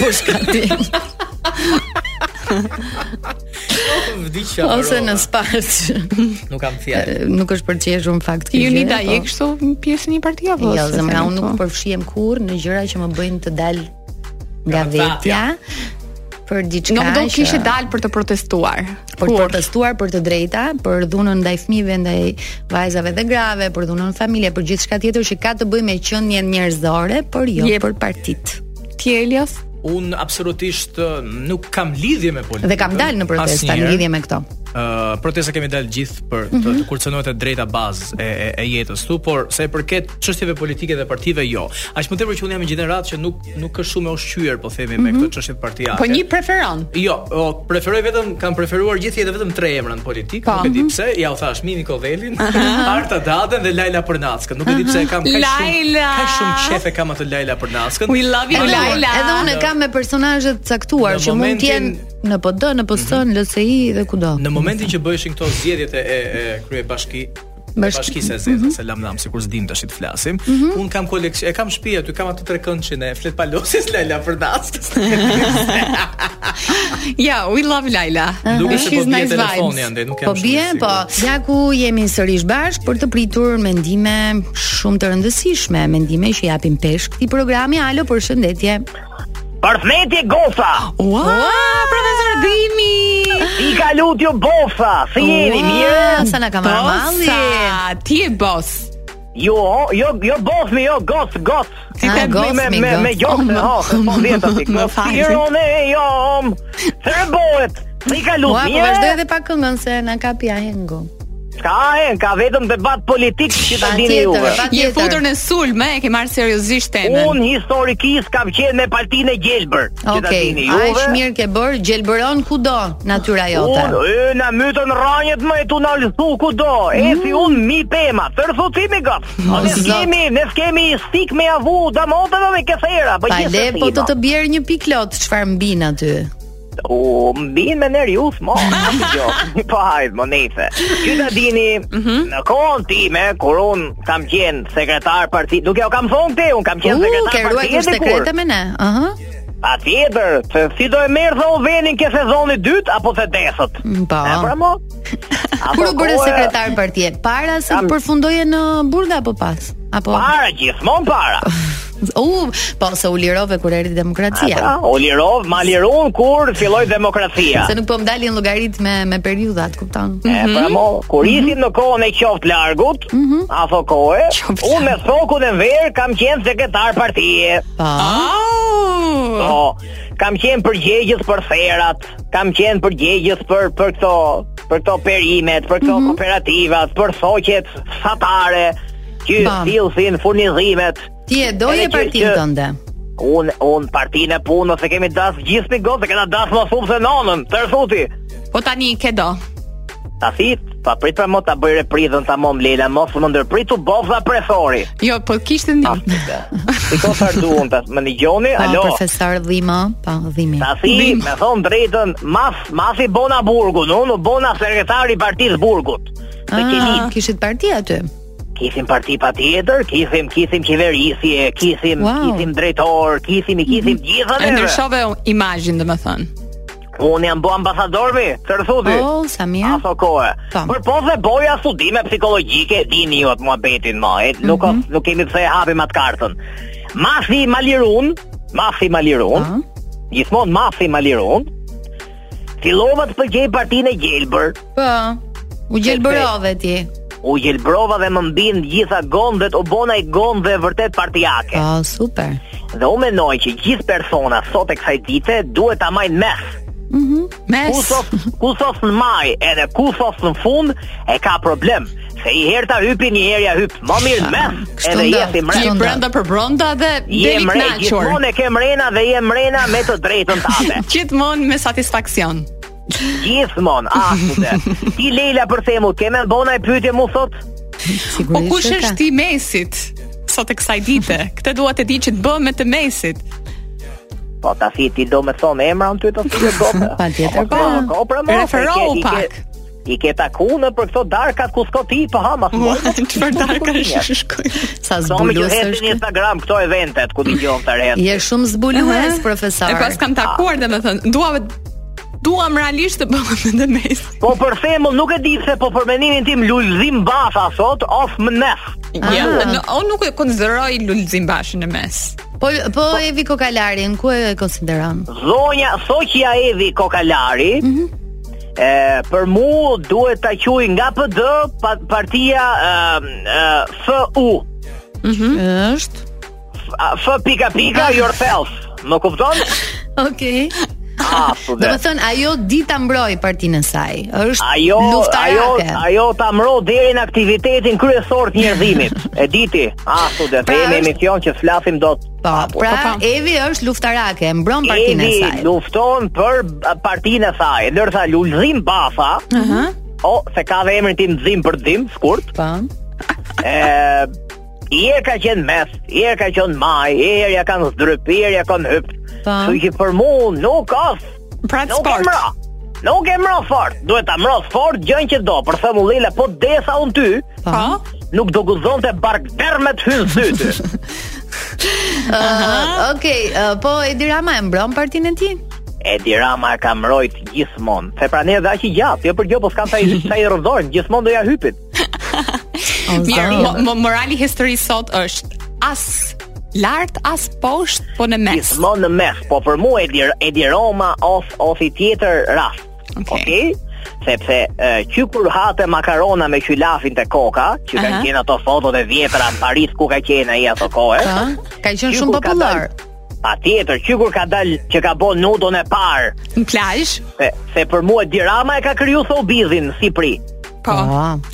E: po shkati
F: Vdiqja.
E: ose në spaqë.
F: Nuk kam fjalë.
E: Nuk është për të qeshur në fakt kjo.
B: Ju
E: gjë,
B: nida
E: po.
B: je kështu pjesë e një partie apo?
E: Jo,
B: se
E: zemra
B: tani
E: unë nuk
B: po?
E: përfshihem kurrë në gjëra që më bëjnë të dal nga
F: Nga
E: vetja për diçka.
B: Nuk do
E: që-
B: kishe dalë për të protestuar.
E: për të
B: Kur?
E: protestuar për të drejta, për dhunën ndaj fëmijëve, ndaj vajzave dhe grave, për dhunën në familje, për gjithçka tjetër që ka të bëjë me qendjen njerëzore, por jo
B: Jep.
E: për partitë.
B: Ti Elias?
F: Unë absolutisht eh, nuk kam lidhje me politikën.
E: Dhe kam dalë në protesta në
F: asnjëherë.
E: lidhje me këto.
F: ë protesta kemi dalë gjithë për të, të
K: Mhm.
F: kurcënohet e drejta bazë e, e, e jetës tu, por sa i përket çështjeve politike dhe partive jo. Aq më tepër që unë jam një gjenerat që nuk nuk është shumë e ushqyer, po themi me
B: Mhm.
F: këto çështje partijake.
B: Po një preferon.
F: Jo, o, preferoj vetëm kam preferuar gjithë jetën vetëm tre emra në politikë,
B: Po.
F: nuk e
B: Mhm.
F: di pse. Ja u thash Mimi Kodhelin, Arta Dadën dhe Laila Përnackën. Nuk e di pse e kam kaq shumë
B: Laila.
F: kaq shumë qef e kam atë Laila Përnackën.
B: We love you,
F: Por-
B: Laila.
E: Edhe unë e kam me personazhe të caktuar
F: Në
E: që mund të jenë në PD, në PS, në LSI dhe kudo.
F: Në momentin që bëheshin këto zgjedhjet e, e, e krye bashki
E: Bashki- Mhm.
F: bashkisë e zezë, se lam lam, sikur s'dim tash i të flasim. Un kam koleksion, e kam shtëpi aty, kam atë tre këndçin e flet palosjes Laila Përnackës.
B: Ja, we love Laila.
F: Duke se po
E: She's
F: bie
E: nice
F: telefoni
E: vibes.
F: ande, nuk jam
E: Po
F: shumë i
E: bie, po. Ja ku jemi sërish bashk për të pritur mendime shumë të rëndësishme, mendime që japin peshë këtij programi. Alo, përshëndetje.
I: Përthmetje gofa.
E: Ua, profesor Dimi.
I: I ka lutju bofa. Si jeni mirë? Po,
E: Sa na ka marrë malli.
B: ti je boss.
I: Jo, jo, jo bof mi, jo gos, gos.
B: Ti Ah, ke gos
I: me
B: mi,
I: me
B: gos.
I: me gjoks,
B: Oh,
I: ho,
B: më-
I: po vjet aty.
B: më
I: Më
B: falni.
I: firone jam. Tërbohet. Si ka
E: Ua,
I: lutje?
E: po vazhdoj edhe pa këngën se na kapi ahengu.
I: Ka e, ka vetëm debat politik që ta
E: Patjetër,
I: dini juve.
B: Je futur në sulme, e ke marrë seriozisht temën.
I: Unë historikisht kam qenë me partinë e gjelbër. që ta
E: Okej,
I: dini
E: aq
I: juve.
E: mirë ke bër, gjelbëron kudo natyra jote.
I: Unë e në mytën ranjët më e tu në lësu ku do E si unë mi pema Tërthutimi gëtë
E: O,
I: Ne
E: Mm. Oh, zot.
I: s'kemi, ne s'kemi stik me avu Damoteve me këthera Po
E: Pa
I: gjithë
E: le,
I: të
E: po të të bjerë një piklot, çfarë mbin aty?
I: U, mbinë me nërjus, mo Jo, po hajtë, mo nejse Që të dini,
E: Mhm.
I: në kohën time Kur unë kam qenë sekretar parti Nuk jo kam thonë te, unë kam
E: U,
I: qenë sekretar
E: ke
I: parti
E: ruajtur
I: e dikur.
E: sekrete me ne. Aha.
I: Pa tjetër, se si do e merë dhe u venin ke sezoni dytë apo se desët?
E: Po.
I: E pra mo? Apo
E: Kur u bëre
I: kohë-
E: sekretar partije? Para se të përfundoje në burga apo pas? Apo
I: Para gjithmonë para.
E: U, po se u lirove kur erdhi demokracia.
I: Ata, u lirov, ma lirun kur filloi demokracia.
E: Se nuk po më dalin llogarit me me periudhat, kupton? Po.
I: E pra mo, kur isim në kohën e qoftë largut, ato kohë, unë me thokun e verë kam qenë sekretar partije. Po, kam qenë përgjegjës për ferat, kam qenë përgjegjës për për këto për këto perimet, për këto kooperativat, për shoqet satare, që
E: Bam.
I: sillsin furnizimet.
E: Ti e doje
I: Edhe që-
E: partinë
I: që-
E: tënde.
I: Un un partinë e punës e kemi das gjithë me gotë, kena das më shumë se nonën, tërthuti.
B: Po tani ke do.
I: Ta thit, pa prit pra mo ta bëj reprizën tamam Lela, mos më ndërprit u bofta presori.
B: Jo, po kishte ndonjë.
I: Iko sa duon ta më dëgjoni,
E: Po,
I: alo.
E: profesor Dhima, po, Dhimi.
I: Ta si, me thon drejtën, mas mas i bona burgun, unë u bona sekretari i partisë burgut. Të
E: Ah,
I: qelit.
E: kishit parti aty.
I: Kisim parti pa tjetër, kisim, kisim qeverisje, kisim,
B: Wow.
I: kisim drejtor, kisim, i kisim gjitha
B: E
I: neve.
B: ndryshove imazhin, domethënë.
I: Unë jam bo ambasador mi, tërthuti.
E: Oh, sa mirë.
I: Aso kohë. Por po dhe boja studime psikologjike, dini ju atë muhabetin ma, e, nuk, mm nuk kemi pse e hapim atë kartën. Masi Malirun, Masi Malirun,
E: Po. Ah.
I: gjithmonë Masi Malirun, fillova të pëlqej partinë e gjelbër,
E: Po. U gjelbërove ti.
I: u gjelbrova dhe më mbin gjitha gondet, u bona i gondve vërtet partijake.
E: Po, super.
I: Dhe u menoj që gjithë persona sot e kësaj dite duhet ta majnë mes.
B: Mes.
I: Kusos, kusos në maj edhe kusos në fund e ka problem. Se i herë ta hypi, një herë ja hyp. Më mirë mes
B: Ah, Kështu
I: edhe
B: nda.
I: jeti
B: Je
I: mrena.
B: brenda për brenda dhe
I: Je
B: deri
I: mrena,
B: kënaqur.
I: gjithmonë e ke mrena dhe je mrena me të drejtën tate.
B: Gjithmonë me satisfaksion.
I: Gjithmonë, ashtu Ti Leila për themu, ke me bona i pyetje mu sot?
B: Po
E: Sigurisht.
B: kush
E: që ka.
B: është ti mesit? Sot e kësaj dite. Këtë dua të di që të bëhem me të mesit.
I: Po ta si ti do me thonë emra në ty të si e gopë.
E: Patjetër,
I: Po,
E: po.
I: po, pra mos, e ke-
B: Referou
I: i ke-
B: pak.
I: I ke taku në për këto darkat ku s'ko ti, po ha, mas moj.
B: Çfarë darka
I: Shkotinja.
B: shkoj?
E: Sa
I: Thonë që
E: zbulues
I: hesin në
E: është.
I: Instagram këto eventet ku dëgjojmë të rreth.
E: Je shumë zbulues, profesor.
B: E pas kam takuar domethënë, dua duam realisht të bëhem me të mesit.
I: Po për thembull nuk e di pse po për mendimin tim Lulzim Basha sot of mënes.
B: Ja, në- Jo, unë nuk e konsideroj Lulzim Bashin në mes.
E: Po po Evi Kokalarin, ku e konsideron?
I: Zonja Soqia Evi Kokalari.
E: Mhm.
I: E, për mu duhet ta quaj nga PD pa, partia e, e, FU.
E: Është.
I: F pika pika yourself. Më kupton? Ah,
E: Okej.
I: Apo
E: Do të thënë ajo dita mbroi partinë e saj. Është
I: Ajo, ajo,
E: luftarake.
I: ajo ta mro deri në aktivitetin kryesor të njerëzimit. E diti, ashtu dhe
E: Pra
I: themi
E: është-
I: emision që flasim dot.
E: Po, pra Evi është luftarake, e mbron partinë e
I: Edi
E: saj.
I: lufton për b- partinë e saj, ndërsa Lulzim Bafa, o se ka dhe emrin tim Zim për Zim, skurt.
E: Po.
I: Ë I erë ka qenë mes, i erë ka qenë maj, i erë ja kanë zdryp, i erë ja kanë hyp.
E: Po.
I: Kështu që për mua nuk as.
B: Pra
I: Nuk e
B: sport.
I: mra. Nuk e mra fort. Duhet ta mros fort gjën që do. Për thembull Lila, po desa un ty,
B: Po.
I: nuk do guzonte bark derë me të hynë zyty.
E: Ë, Okej, ë, po Edi Rama e mbron partinë e tij?
I: Edi Rama e ka mbrojt gjithmonë. Se pra ne dhe aq i gjatë, jo për gjë, po s'kan sa i sa i rrodhojnë, gjithmonë do ja hypit.
B: Mirë, mo- mo- morali i historisë sot është as lart as poshtë, po në mes.
I: Gjithmonë në mes, po për mua Edi, Edi Roma of of i tjetër rast. Okej. Sepse uh, që kur hate makarona me qylafin të koka, që kanë
B: Aha.
I: qenë ato fotot e vjetra në Paris ku ka qenë ai ato kohë.
E: Po. Ka qenë
I: Qykur
E: shumë
I: ka
E: popullor.
I: dalë- Pa tjetër, që kur ka dalë që ka bo nudon e parë,
B: Në plazh.
I: se, se për mua Edi Rama e ka kryu thobizin në Sipri.
B: Po.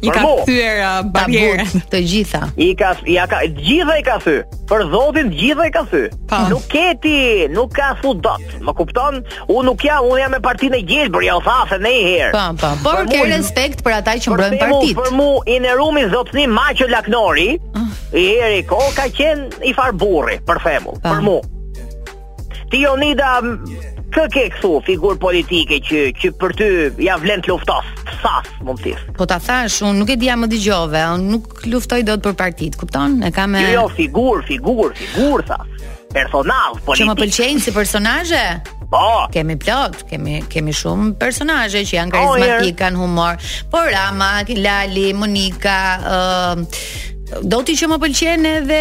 B: I
I: Për
B: ka
I: mu.
B: thyer uh, barrierën.
E: Tabut të gjitha.
I: I ka ja ka gjithë i ka thy. Për Zotin gjithë i ka thy.
B: Pa.
I: Nuk keti, nuk ka thu dot. Më kupton? Unë nuk jam, unë jam me partinë e gjelbër, ja u tha se ne i herë.
E: Po, po. Por
I: Për
E: ke
I: mu-
E: respekt për ata që
I: Për
E: mbrojnë
I: temu,
E: partitë.
I: për mu i nerumi zotëni Maqo Laknori,
E: Ah.
I: i heri ko, ka qenë i farë burri, për themu,
E: Pa.
I: për mu. Ti Jonida, m, kë ke kësu figur politike që, që për ty ja vlen të luftos, sas, mund të
E: Po ta thash, unë nuk e dija më dëgjove, unë nuk luftoj dot për partitë, kupton? E kam me
I: Jo, jo, figur, figur, figur, sas, personal,
E: që më
I: politik.
E: pëlqejnë si personazhe.
I: Po,
E: Kemi plot, kemi kemi shumë personazhe që janë karizmatik,
I: Oh,
E: kanë humor. Por Rama, Lali, Monika, ë do ti që më pëlqen edhe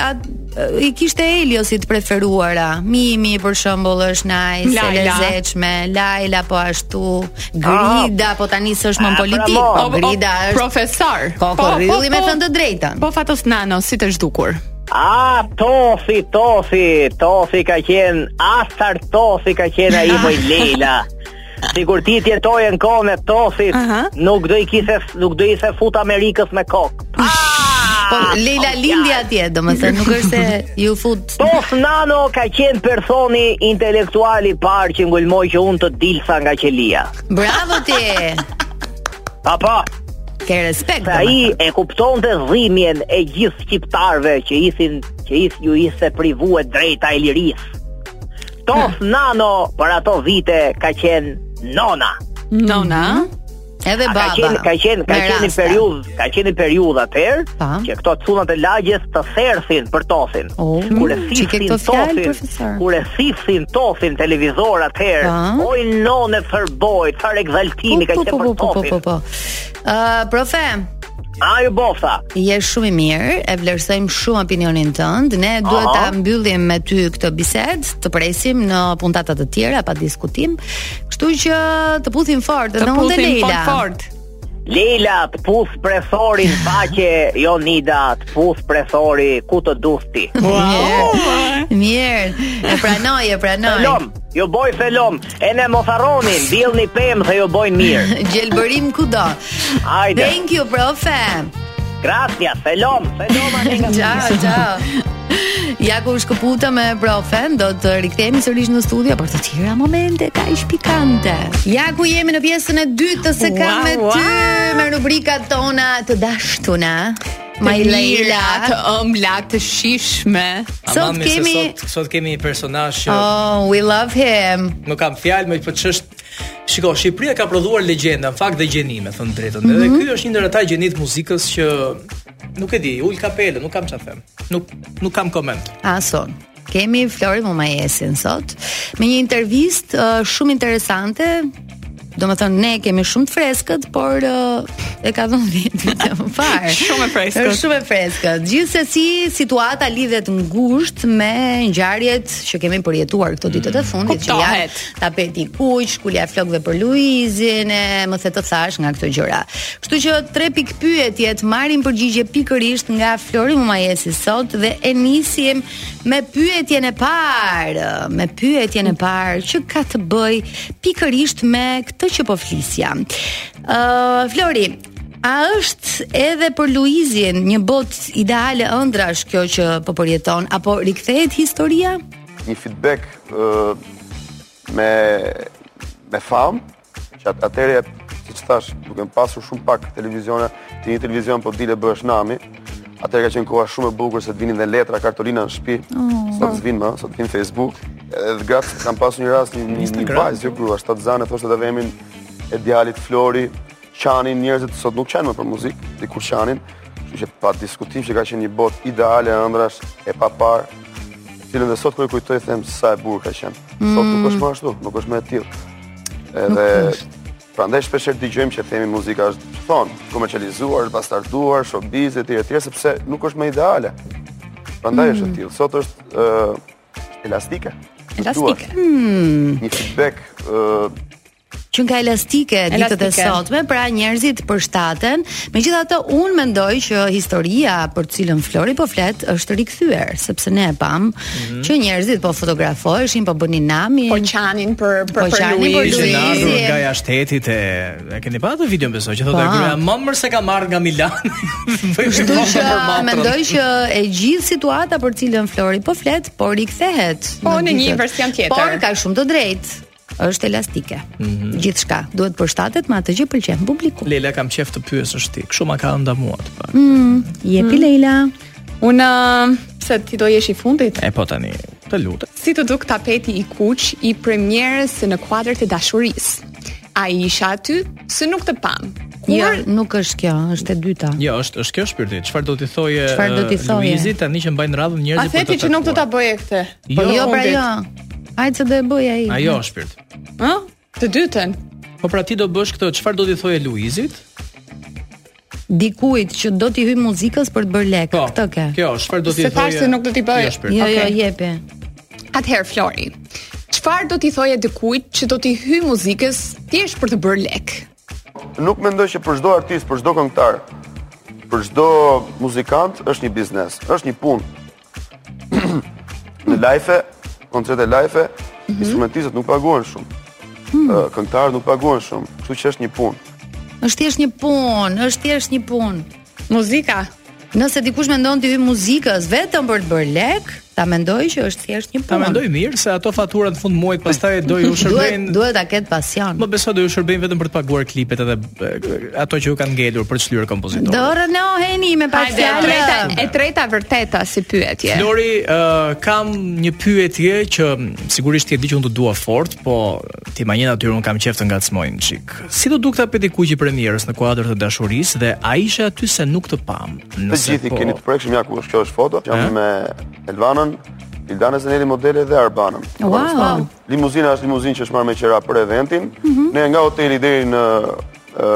E: at, ë, i kishte Eliosi të preferuara. Mimi për shembull është nice, e
B: Laila.
E: lezetshme, Laila po ashtu, Grida po tani s'është më në
I: Ah,
E: politik,
I: bravo. oh,
E: po
B: O- o-
E: Grida është
B: profesor.
E: kokorylli me thënë të drejtën.
B: Po Fatos Nano, si të zhdukur.
I: A, Tosi, Tosi, Tosi ka qenë, Astar Tosi ka qenë ai i Leila. Sigur ti tjetoje në kohën e Tosit,
B: Aha.
I: nuk do i kise, nuk do i se fut Amerikës me kokë.
E: Po
I: ah,
E: Leila
I: oh,
E: lindi atje, domethënë nuk është se ju fut
I: Tos Nano ka qenë personi intelektuali i parë që ngulmoj që unë të dilsa nga qelia.
E: Bravo ti.
I: Pa pa,
E: Ke respekt.
I: se Pra ai e kupton të dhimjen e gjithë shqiptarve që isin, që is, ju ise privue drejta e lirisë. Tos Nano për ato vite ka qenë nona.
B: Nona.
E: Edhe
I: Mhm. A,
E: baba.
I: Ka qenë ka qenë ka
E: me
I: qenë një
E: raste.
I: periudhë, ka qenë një periudhë atëherë
E: Pa.
I: që këto cunat e lagjes të thersin për tosin.
E: O,
I: kur e
E: mm, që ke
I: sifsin
E: këto fjalë,
I: tosin,
E: profesor?
I: kur e sifsin tosin televizor atëherë,
E: Pa.
I: oj nonë thërboj, çfarë egzaltimi ka
E: Po,
I: qenë
E: po,
I: për
E: po, po, po,
I: tosin.
E: po. Ë, profe,
I: Ai u bofta.
E: je shumë i mirë, e vlerësojmë shumë opinionin tënd. Ne duhet ta mbyllim me ty këtë bisedë, të presim në puntata të tjera pa diskutim. Kështu që të puthim fort
B: Të
E: edhe unë dhe
B: puthim
E: Leila.
B: fort fort.
I: Leila të puth presorin faqe, jo Nida të puth presori ku të dusti.
B: Oh,
E: Mirë. Mirë. E pranoj, e pranoj.
I: Felom, ju boj felom, e ne mos harroni, mbjellni pemë dhe ju bojnë mirë.
E: Gjelbërim kudo.
I: Hajde.
E: Thank you, profe.
I: Gracias, felom, felom aninga.
E: Ciao, ciao. Ja ku shkëputa me profen, do të rikthehemi sërish në studio për të tjera momente kaq pikante. Ja ku jemi në pjesën e dytë të se kam
B: Wow,
E: me ty
B: wow.
E: me rubrikat tona të dashtuna.
B: Të
E: My
B: mira,
E: Leila.
B: të ëmbla, të shishme.
E: Sot
F: Amami, se
E: kemi
F: sot, sot kemi një personazh që
E: Oh, we love him.
F: nuk kam fjalë, më po ç'është Shiko, Shqipëria ka prodhuar legjenda, në fakt dhe gjenime, thënë drejtën. Edhe
E: Mhm.
F: ky është një ndër ata gjenit muzikës që nuk e di, ul kapelën, nuk kam çfarë them. Nuk nuk kam koment.
E: Ason. Kemi Flori Mumajesin sot me një intervistë uh, shumë interesante Do më thënë, ne kemi shumë të freskët, por ë, e ka dhënë vjetë vite më parë.
B: Shumë e freskët.
E: Është shumë e freskët. Gjithse si situata lidhet ngusht me ngjarjet që kemi përjetuar këto ditët e fundit, që janë
B: Kuptohet.
E: tapeti i kuq, kulja e flokëve për Luizin, e më the të thash nga këto gjëra. Kështu që tre pikë pyetjet marrin përgjigje pikërisht nga Flori Mumajesi sot dhe e nisim me pyetjen e parë, me pyetjen e parë që ka të bëj pikërisht me këtë që po flisja. Ë Flori, A është edhe për Luizin një botë ideale ëndrash kjo që po përjeton apo rikthehet historia?
I: një feedback ë, me me fam, që at, atëre siç thash, duke më pasur shumë pak televizione, ti një televizion po dile bëhesh nami. Atëherë ka qenë koha shumë e bukur se të vinin dhe letra kartolina në shtëpi.
E: Oh.
I: Sot s'vin më, sot vin Facebook. Edhe gratë kam pasur një rast një, një, një vajzë, jo grua, shtatë zane, thoshte edhe emrin e djalit Flori, qanin njerëzit sot nuk qanin më për muzikë, dikur qanin. Kështu që pa diskutim që ka qenë një botë ideale ëndrash e papar, cilën dhe sot kur e kujtoj them sa e bukur ka qenë. Sot nuk është më ashtu, nuk është më e tillë. Edhe prandaj shpeshherë dëgjojmë që themi muzika është që thonë, komercializuar, bastarduar, showbiz etj etj sepse nuk është më ideale. Prandaj është e tillë. Sot është ë elastike.
B: Elastike.
I: Duhet. Një feedback ë
E: që nga elastike ditët e
B: Elastike.
E: sotme, pra njerëzit përshtaten. Megjithatë, unë mendoj që historia për të cilën Flori po flet është rikthyer, sepse ne e pam që njerëzit po fotografoheshin, po bënin namin.
B: Mhm. Po qanin për për,
E: Po
B: për
E: qanin për
F: Ishte
B: Luizin.
E: Luizin.
F: ardhur nga jashtetit e e keni pa atë videon besoj që thotë
E: Pa.
F: gruaja më mërë se ka marrë nga Milan. Bëjë
E: Kështu që mendoj që e gjithë situata për cilën Flori po flet, po rikthehet.
B: Po, në një
E: ditët.
B: version tjetër.
E: Por ka shumë të drejtë është elastike.
B: Mhm.
E: Gjithçka duhet përshtatet me atë që pëlqen publiku.
F: Lela kam qef të pyesësh ti, kështu ma ka ndamuar të pak.
E: Jepi
B: Mm.
E: Leila.
B: Unë ë, pse ti do jesh i fundit?
F: E po tani, të lutem.
B: Si të duk tapeti i kuq i premjerës në kuadrë të dashurisë? A i isha aty, se nuk të pam. Kur
E: Jo, nuk është kjo, është e dyta.
F: Jo, është është kjo shpirti. Çfarë do t'i thoje
E: Çfarë do t'i
F: eh,
E: thoje?
F: Luizit tani që mbajnë radhën
B: a
F: njerëzit
B: theti që nuk do ta bëje këtë?
E: Po jo, pra
B: fundit.
E: jo. Hajde se do e bëj ai.
F: Ajo është shpirt.
B: Ë? Të dytën.
F: Po pra ti do bësh këtë, çfarë do t'i thoje Luizit?
E: Dikujt që do t'i hyj muzikës për të bërë lek.
F: Po.
E: Këtë ke.
F: Kjo, çfarë do t'i
B: Se
F: thoje?
B: thash se nuk do t'i bëj.
F: Jo, shpirt.
E: Jo, jo,
B: Okej.
E: jepi.
B: Atëherë Flori, çfarë do t'i thoje dikujt që do t'i hyj muzikës thjesht për të bërë lek?
I: nuk mendoj që për çdo artist, për çdo këngëtar, për çdo muzikant është një biznes, është një punë. në live, koncerte live, instrumentistët nuk paguhen shumë. Ë, Këngëtarët nuk paguhen shumë, kështu që është një punë.
E: Është thjesht një punë, është thjesht një punë.
B: Muzika.
E: Nëse dikush mendon t'i hyj muzikës vetëm për të bërë lek, ta mendoj që është thjesht një punë.
F: Ta mendoj mirë se ato faturat në fund muajit pastaj do ju
E: Duhet
F: shërbejnë
E: duhet ta ketë pasion.
F: Më besoj do ju shërbejnë vetëm për të paguar klipet edhe e, ato që ju kanë ngelur për të shlyer kompozitorët.
E: Dorën e oheni me pak
B: Hajde, e treta,
E: fjalë.
B: e treta vërteta si pyetje.
F: Flori, uh, kam një pyetje që mm, sigurisht ti e di që unë të dua fort, po ti ma njën atyre unë kam qef të ngacmoj një çik. Si do duk tapeti kuq i premierës në kuadër të dashurisë dhe a ishe aty se nuk të pam?
I: Të gjithë
F: Po.
I: i keni të prekshëm ja ku është kjo është foto. Jam me Elvanën, Ildana Zeneli modele dhe Arbanën.
E: Wow.
I: Arbanistan. Limuzina është limuzinë që është marrë me qira për eventin. Ne nga hoteli deri në ë,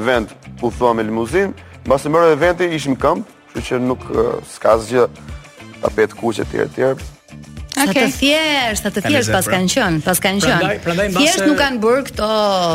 I: event u thua me limuzinë. Mbas e mërë eventi ishim këmbë, kështu që nuk ë, s'ka asgjë tapet kuqe etj etj.
E: Sa të thjesht, sa të thjesht
F: lezet, pra.
E: pas kanë qenë, pas kanë qenë.
F: Prandaj- prandaj mbase-
E: Thjesht nuk kanë bërë këto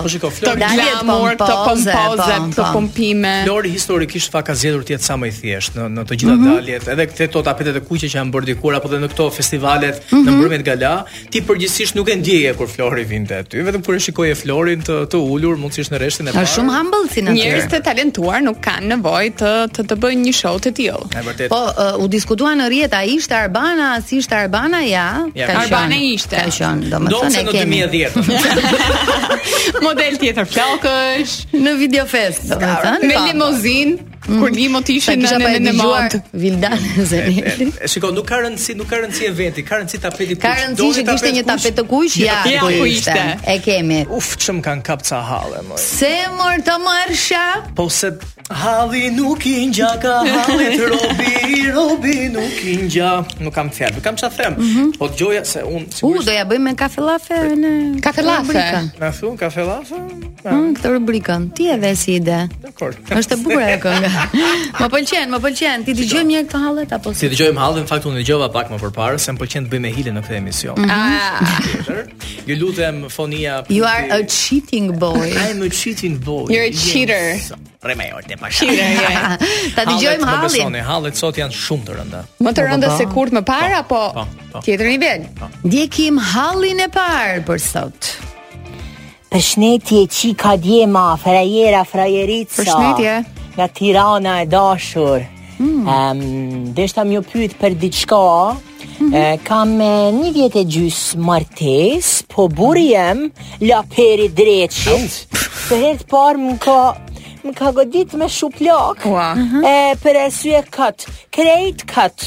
F: Po shiko,
E: këto
F: Flori,
E: dalje të
B: Glamour, këto
E: pompoze,
B: pompoze,
E: po,
B: këto
E: po.
B: pompime.
F: Flori historikisht fa ka zgjedhur të jetë sa më i thjeshtë në në të gjitha
E: Mhm.
F: daljet, edhe këto tapetet e kuqe që janë bërë dikur apo edhe në këto festivalet në
E: Mhm.
F: mbrëmjet gala, ti përgjithsisht nuk e ndjeje kur Flori vinte aty, vetëm kur e shikoje Florin të të ulur, mundësisht në rreshtin e
E: Është shumë humble si natyrë.
B: Njerëz të talentuar nuk kanë nevojë të të, të bëjnë një show të tillë.
F: E vërtet.
E: Po, uh, u diskutua në rjet, a ishte Arbana, a si ishte Arbana, ja,
F: Ja,
E: ka
B: Arbana
E: qenë,
B: ishte.
E: Ka qenë,
F: Ndonë
E: domethënë
F: se
E: e
F: në
E: kemi.
F: 2010.
B: Model tjetër flokësh,
E: Në videofest, domethënë.
B: me limuzin, kur limo të
E: Mm. Sa
B: ishin
E: po.
B: në
E: kisha pa
B: në
E: e
B: në mod.
E: dëgjuar Vildan Zeneli.
F: Shikoj, nuk ka rëndësi, nuk ka rëndësi eventi, ka rëndësi tapeti kuq.
E: Ka rëndësi
F: Doni
E: që kishte një tapet të kuq, ja,
B: Ja, ku
E: ku
B: ishte.
E: ishte. E kemi.
F: Uf, çm kanë kap ca halle, moj.
E: Se mor të mërsha
F: Po se halli nuk i ngjaka, halli të robi, robi nuk Kinja, nuk kam fjalë, nuk kam çfarë them.
E: Mhm.
F: Po dëgjoja se un
E: U, do ja bëjmë me kafe llafe në
B: Kafe llafe.
F: Na thon kafe llafe?
E: Hm, këtë rubrikën. Ti e ve si ide.
F: Dakor.
E: Është e bukur ajo kënga. Më pëlqen, më pëlqen. Ti dëgjojmë një këtë hallet apo
F: Si dëgjojmë hallin, në fakt unë dëgjova pak më përpara se më pëlqen të bëj me hile në këtë emision. Tjetër, Ju lutem fonia.
E: Mhm. You are a cheating boy.
F: I'm a cheating boy.
B: You're a cheater.
F: Remajor te pasha.
B: Cheater, yeah.
E: Ta dëgjojmë
F: Hallet, më
E: hallin.
F: besoni, Hallet sot janë shumë të rënda.
B: Më të rënda se kur më para, po
F: po, po.
B: tjetër nivel.
E: Ndjekim hallin e parë për sot.
A: Përshëndetje Qika Djema, frajera, frajerica.
B: Përshëndetje.
A: Nga Tirana e dashur. Mm. Um, Deshta mjë pyet për diçka. Mm kam e, një vjet e gjys martes, po burri jem la peri dreqit. Për herë të parë më ka më ka godit me shuplak.
B: Ua.
A: E për arsye kët, krejt kët.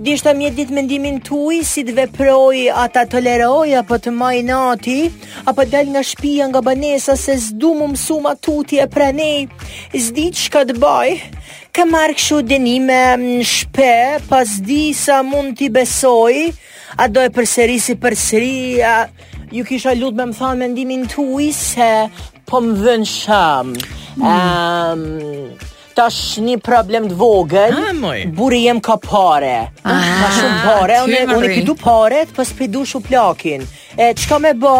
A: Dishta mje ditë mendimin tuj si të veproj, a ta toleroj, apo të maj nati, apo del nga shpia nga banesa se s'du më mësuma tuti e pranej, s'di që ka të baj, ka marrë këshu denime në shpe, pas di sa mund t'i besoj, a do e përsëri si përsëri, a ju kisha lutë me më thanë mendimin tuj se po më vënë shamë. Ehm, tash një problem të vogël.
F: Ah, moj.
A: Buri jem ka pare. Ka shumë pare,
B: ty
A: unë unë
B: e
A: i
B: mërri.
A: pidu paret, po s'pidu shuplakin. E çka më bë?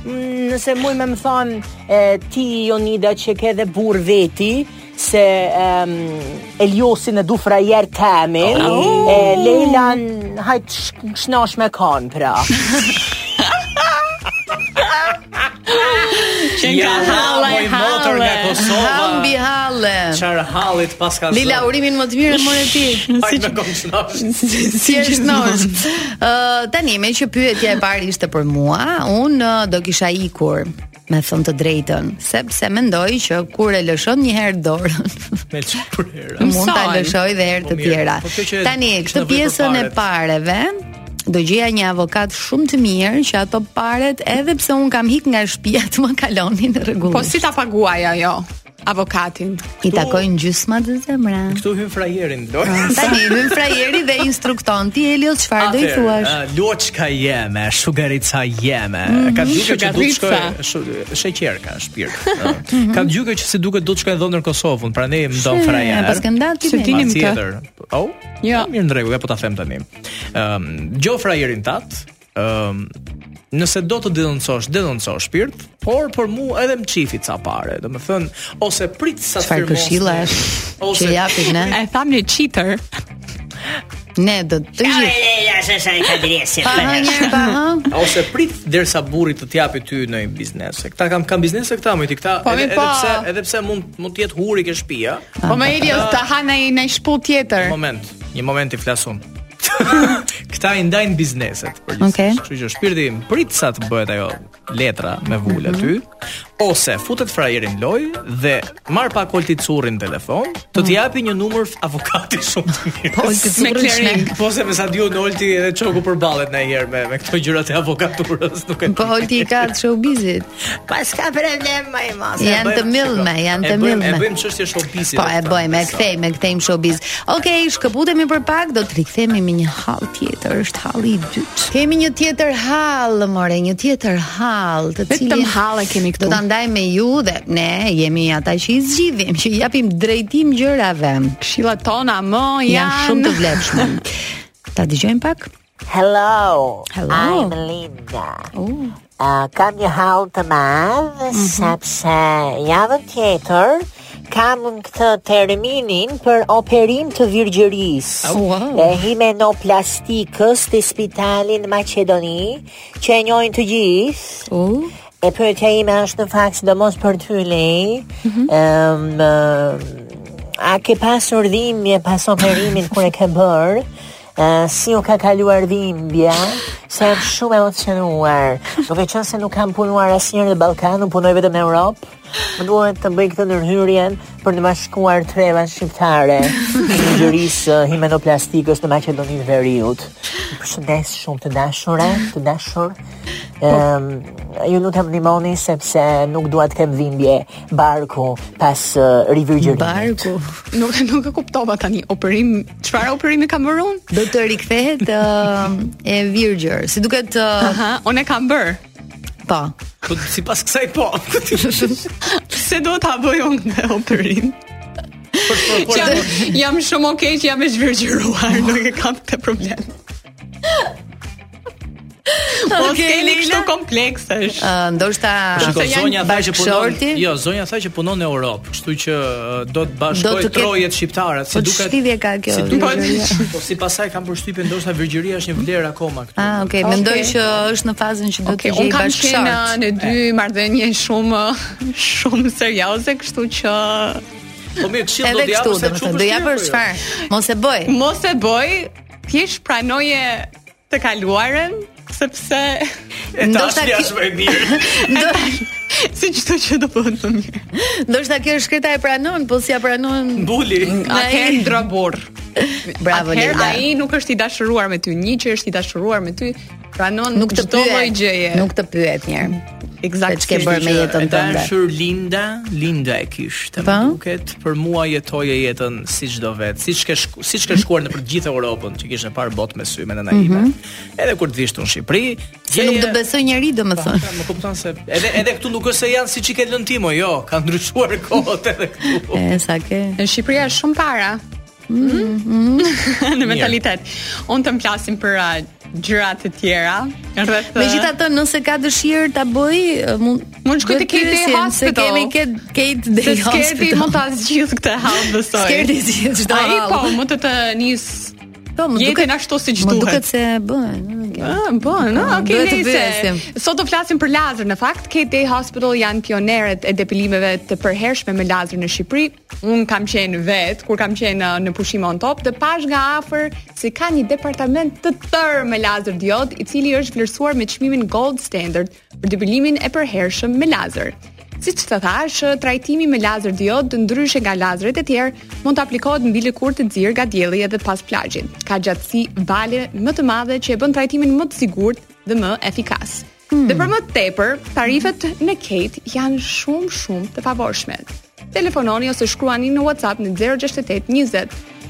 A: Mm, Nëse muj me më thanë e, ti Jonida që ke dhe burr veti se um, Eliosin e du frajer temin
F: Oh.
A: e Lejlan hajt sh- shnash me kanë pra
F: Ja, moj motor nga
E: Hambi
F: Kosova.
E: halle.
F: Çfarë hallit pas ka
E: Lila urimin më të mirë e morë ti.
F: Ai me konshnash.
E: Si e shnosh? Ë tani me që pyetja e parë ishte për mua, unë ë, do kisha ikur me thënë të drejtën, sepse mendoj që kur e lëshon një herë dorën,
F: Me çfarë?
E: mund ta
B: Mësojnë.
E: lëshoj dhe herë
F: Po
E: të
F: mirë,
E: tjera.
F: po kjo që e
E: Tani
F: kishte
E: këtë
F: vënë për
E: pjesën e
F: paret.
E: pareve, do gjeja një avokat shumë të mirë që ato paret edhe pse un kam hik nga shtëpia të më kalonin rregullisht.
B: Po si ta paguaj ajo avokatin?
E: i takojnë gjysma të zemra.
F: Ktu hyn frajerin.
E: Ah,
F: do-
E: Tani hyn frajeri dhe instrukton ti Elios çfarë do i
F: Atëherë, eh,
E: thuash?
F: ë, Loçka ah, jeme, shugarica jeme.
E: Mhm,
F: Ka gjykë që do të
B: Shugarica.
F: shkoj shu- sheqerka, shpirt. Ë, Ka gjykë që si duket do të shkoj dhënë në Kosovën, pra prandaj më don
E: Shë,
F: frajer.
E: Eh, pas kënda ti
F: Se
E: me.
F: tinim
B: Pas
F: të.
B: tjetër.
F: Au?
B: Jo.
F: Mirë në rregull, ja po ta them tani. Ëm, gjo frajerin tat, ëm Nëse do të denoncosh, denonco shpirt, por për mua edhe më qifi ca pare, do të thënë ose prit sa të
E: Çfarë
F: firmos-
E: këshilla është
F: Ose
E: që japin ne?
B: E tham një cheater.
E: Ne do të gjithë. Pa hë njerë, pa hë.
F: Ose prit derisa burri të t'japi ty në një biznes. Se Këta kam kam biznese këta më ti këta
B: Po,
F: edhe,
B: mi
F: edhe
B: pa.
F: pse edhe pse mund mund të jetë huri ke shtëpia.
B: Po më
E: Ah.
B: Elios ta ha në në shpu tjetër.
E: Po.
F: Një moment, një moment i flasun. këta i ndajnë bizneset. përgjithsisht.
E: Okej.
F: Kështu që shpirti im prit sa të bëhet ajo letra me vul
E: Mhm.
F: aty, ose futet frajerin loj dhe marr pa kolti currin në telefon, të të japi një numër avokati shumë të mirë.
E: Mhm. Po, olti
B: Me
E: currin
B: clearing.
E: shmek.
F: Po se me sa diu Olti edhe çoku përballet ndonjëherë me me këto gjërat e avokaturës, nuk e
E: Po olti i ka të showbizit.
A: pas ka problem ma i mas
F: E
E: Janë të
F: bëjmë-
E: millme,
F: shiko,
E: janë
F: e
E: të
F: bëjmë-
E: millme.
F: E bëjmë çështje showbizit.
E: Po e bëjmë, e kthejmë, e kthejmë showbiz. Okej, shkëputemi për pak, do të rikthehemi me një hall tjetër, është halli i dytë. Kemi një tjetër hall, more, një tjetër hall, të
B: Vetëm
E: cilin
B: hall e kemi këtu.
E: Do ta ndajmë me ju dhe ne jemi ata që i zgjidhim, që i japim drejtim gjërave.
B: Këshillat tona më janë,
E: Janë shumë të vlefshme. Ta dëgjojmë pak?
A: Hello.
E: Hello.
A: I'm Linda. Uh, kam një hall të madh, sepse javën tjetër kam në këtë terminin për operim të virgjërisë.
E: Wow.
A: E himenoplastikës të spitalin në Macedoni, që e njohin të gjithë.
E: Oh.
A: E pyetja ime është në fakt sidomos për ty Lej. Ëm ë, a ke pasur dhimbje pas operimin kur e ke bër? Ë, si u ka kaluar dhimbja? Se jam shumë emocionuar. Duke qenë se nuk kam punuar asnjëherë në Ballkan, unë punoj vetëm në Europë.
I: Më duhet të bëj këtë ndërhyrjen për të bashkuar treva shqiptare të gjërisë eh, himenoplastikës në Maqedoninë e Veriut. Ju përshëndes shumë të dashura, të dashur. Ëm ju lutem ndihmoni sepse nuk dua të kem dhimbje barku pas uh, rivërgjërimit. Barku.
B: Nuk nuk e kuptova tani. Operim, çfarë operimi kam bërë unë?
E: Do të rikthehet uh, e virgjër. Si duket uh...
B: Aha, unë e kam bër.
E: Po.
F: Po sipas kësaj po.
B: Pse do ta bëj unë këtë operim? Që jam, jam shumë okay që jam e
E: Ah.
B: zhvirgjëruar, nuk e kam këtë problem. Po
E: Okej,
B: s'keni
E: Leila.
B: kështu kompleksesh.
E: Ë, uh, ndoshta
F: Shiko, zonja tha që punon.
E: bashkëshorti?
F: Jo, zonja tha që punon në Europë, kështu që ë, do të bashkoj
E: Do të ket-
F: trojet shqiptare,
E: Po
F: si
E: të
F: duket.
E: shlidhje ka kjo,
F: Si duket.
E: virgjëria.
F: Po sipas saj kam përshtypjen ndoshta virgjëria është një vlerë akoma këtu.
E: Ah, okay,
B: Okej.
E: mendoj që është në fazën që do
B: Okay,
E: të
B: unë
E: gjej
B: kam qenë uh,
E: bashkëshort.
B: në dy marrëdhënie shumë shumë serioze, kështu që
F: Po mirë, këshill
E: Edhe
F: do të
E: kështu,
F: japësh se
E: domethënë,
F: çu
E: do japësh çfarë? Mos e bëj.
B: mos e bëj, thjesht pranoje të kaluarën, sepse
E: Ndoshta kjo- Ndo-
B: si çdo që do bëhet më mirë.
E: Ndoshta kjo shkreta e pranon, po si ja pranon
F: Mbuli.
B: Atëherë drabor.
E: Bravo
B: Atëherë
E: Leda.
B: ai nuk është i dashuruar me ty, një që është i dashuruar me ty, pranon
E: Nuk të
B: çdo lloj gjëje.
E: pyet. Nuk të pyet një herë. Se
B: Eksaktësisht.
E: ç'ke bërë me jetën tënde. Po.
F: Dashur Linda, Linda e kishte. Më
E: Pa.
F: duket për mua jetoje jetën siç do vet, siç ke shku, siç
E: Mhm.
F: ke shkuar nëpër gjithë Europën, që kishe parë botë me sy me nëna ime. Edhe kur të vish tu në Shqipëri,
E: Se Mhm. nuk
F: gjeje-
E: do besoj njerëj domethënë.
F: Pra, Më kupton se edhe edhe këtu nuk është se janë siç i ke lënë ti, mo, jo, ka ndryshuar kohët edhe
B: Po.
F: këtu.
E: E sa ke.
B: Në Shqipëri është shumë para.
E: Mm-hmm.
B: në mentalitet. Unë të mplasim për uh, gjëra të tjera rreth. uh,
E: Megjithatë, nëse ka dëshirë ta bëj, mund
B: Mund shkoj te
E: duhet
B: Kate Day
E: pyesim, Se
B: Hospital.
E: kemi Kate Kate
B: se
E: Day
B: sketi
E: Hospital.
B: mund ta zgjidh këtë hall besoj.
E: Skerti zgjidh çdo
B: Ai
E: hall.
B: po mund të të nis
E: Po, më
B: jetën
E: duket
B: ashtu siç
E: Më
B: duhet.
E: duket se bën.
B: Ah, po, no, okay,
E: Duhet të
B: nice.
E: pyesim.
B: Sot do flasim për lazer. Në fakt, Kate Day Hospital janë pionerët e depilimeve të përhershme me lazer në Shqipëri. Un kam qenë vet kur kam qenë uh, në pushim on top dhe pash nga afër se ka një departament të tërë me lazer diod, i cili është vlerësuar me çmimin Gold Standard për depilimin e përhershëm me lazer. Si që të thash, trajtimi me lazer diod të ndryshe nga lazeret e tjerë mund të aplikohet mbi lëkurë të zirë nga dielli edhe pas plazhit. Ka gjatësi vale më të madhe që e bën trajtimin më të sigurt dhe më efikas. Dhe për më tepër, tarifet në Kate janë shumë shumë të favorshme. Telefononi ose shkruani në WhatsApp në 068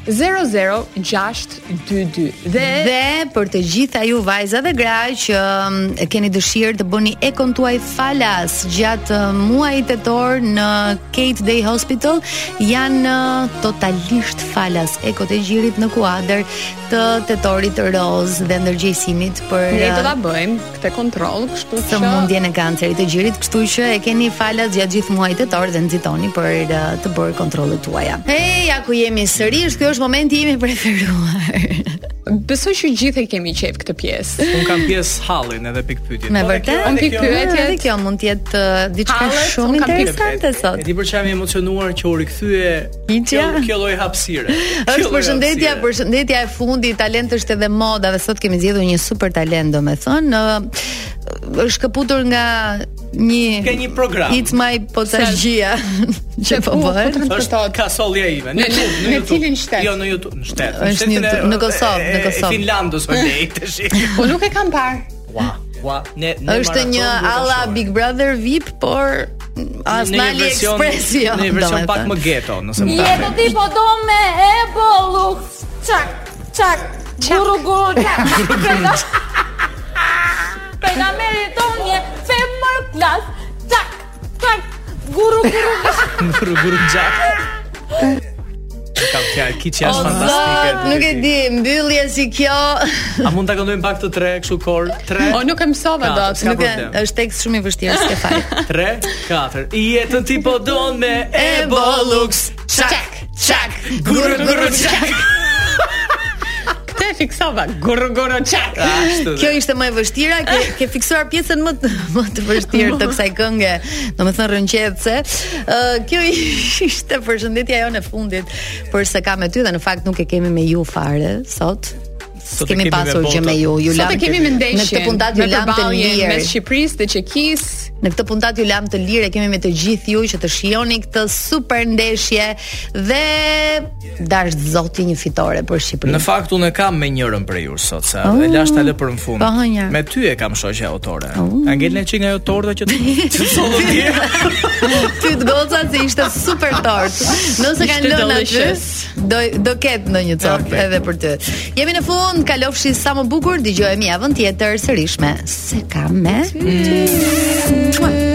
B: 20 00622 dhe
E: Dhe për të gjitha ju vajza dhe gra që mm, e keni dëshirë të bëni ekon tuaj falas gjatë mm, muajit tetor në Kate Day Hospital janë mm, totalisht falas ekot e gjirit në kuadër të tetorit të rozë dhe ndërgjegjësimit për
B: ne do ta
E: mm,
B: bëjmë këtë kontroll, kështu që
E: sëmundjen e kancerit të gjirit, kështu që e keni falas gjatë gjithë muajit tetor dhe nxitoni për uh, të bërë kontrollet tuaja. Hey, ja ku jemi sërish, ky është momenti im i preferuar.
B: besoj që gjithë e kemi qef këtë pjesë.
F: Un kam pjesë hallin edhe pikë pyetjet.
E: Me
F: Po, edhe kjo-
E: vërtet?
F: edhe
B: Unë pikë
F: kjo-
B: pyetje.
E: Edhe kjo mund të jetë uh, diçka
B: Hallet,
E: shumë
B: unë kam pikë
E: interesante
F: E
E: sot.
F: di për çfarë jam emocionuar që u rikthye
E: Hiqja?
F: kjo- kjo lloj hapësire. Kjo
E: Është
F: lloj
E: përshëndetja,
F: hapësire.
E: përshëndetja e fundit, talent është edhe moda dhe sot kemi zgjedhur një super talent, domethënë, ë, Uh, është kaputur nga një
F: Ka një program.
E: It's my potagjia që po
B: Po, po,
E: bëhet.
F: Është kasollja ime
B: Në-
F: në YouTube,
B: në
F: YouTube.
B: cilin shtet?
F: Jo, në YouTube, në shtet.
E: Është
F: shtetin
E: në
F: e-
E: YouTube, në Kosovë,
F: e-
E: në
F: e
E: Kosovë.
F: Finlandës o lej tash.
B: Po nuk e kam parë.
F: Ua, ua, ne ne
E: Është
F: maraton
E: një
F: duhet ta
E: alla
F: shohim.
E: Big Brother VIP, por as në
F: Në një version-
E: AliExpress jo.
F: Në një version pak më
E: domethënë.
F: ghetto, nëse më
L: Jetë
F: thani.
L: ti po do me e bollu Qak, qak, guru guru qak Pejga meri tonje, femër klas Qak, qak, guru guru
F: Guru guru xhak. Ka fjalë kiçi është fantastike.
E: Zot, nuk e di, mbyllje si kjo.
F: A mund ta këndojmë pak të tre kështu kor? Tre.
B: O nuk e mësova
F: Ka,
B: dot.
F: s'ka
E: Nuk e,
F: problem.
E: është tekst shumë i vështirë, s'ke fal.
F: 3, 4 Jetën ti po don me
E: E bollux, çak, çak, guru guru çak.
B: Te fiksova. Gurr gurr çak.
F: Ashtu
E: Kjo ishte më e vështira, ke, ke fiksuar pjesën më të, më të vështirë të kësaj kënge, domethënë rënqetëse. Ë kjo ishte përshëndetja jonë e fundit për se kam me ty dhe në fakt nuk e kemi me ju fare sot
F: Sot e
E: Kemi
F: kemi me
E: pasur gjë
F: bota.
E: me ju, ju
F: Sot e
E: lam.
F: kemi me
E: Në këtë
F: ndeshjen,
E: puntat ju
F: me
E: lam të
F: përballjen
E: lirë.
F: mes
E: Shqipërisë dhe Çekis. Në këtë puntat ju lam të lirë, e kemi me të gjithë ju që të shihoni këtë super ndeshje dhe dash zoti një fitore për Shqipërinë.
F: Në fakt unë e kam me njërën për ju sot se
E: Oh,
F: dhe lash ta lë për në fund.
E: po, hënja.
F: Me ty e kam shoqja autore.
E: Oh.
F: Angelina Çik nga ajo torta që që sot do të
E: Ty të goca se ishte super tort. Nëse kanë
F: Ishte
E: lënë aty,
F: delicious.
E: do do ketë ndonjë copë edhe për ty. Jemi në fund, kalofshi sa më bukur, dëgjohemi javën tjetër sërish me se kam me. Mua.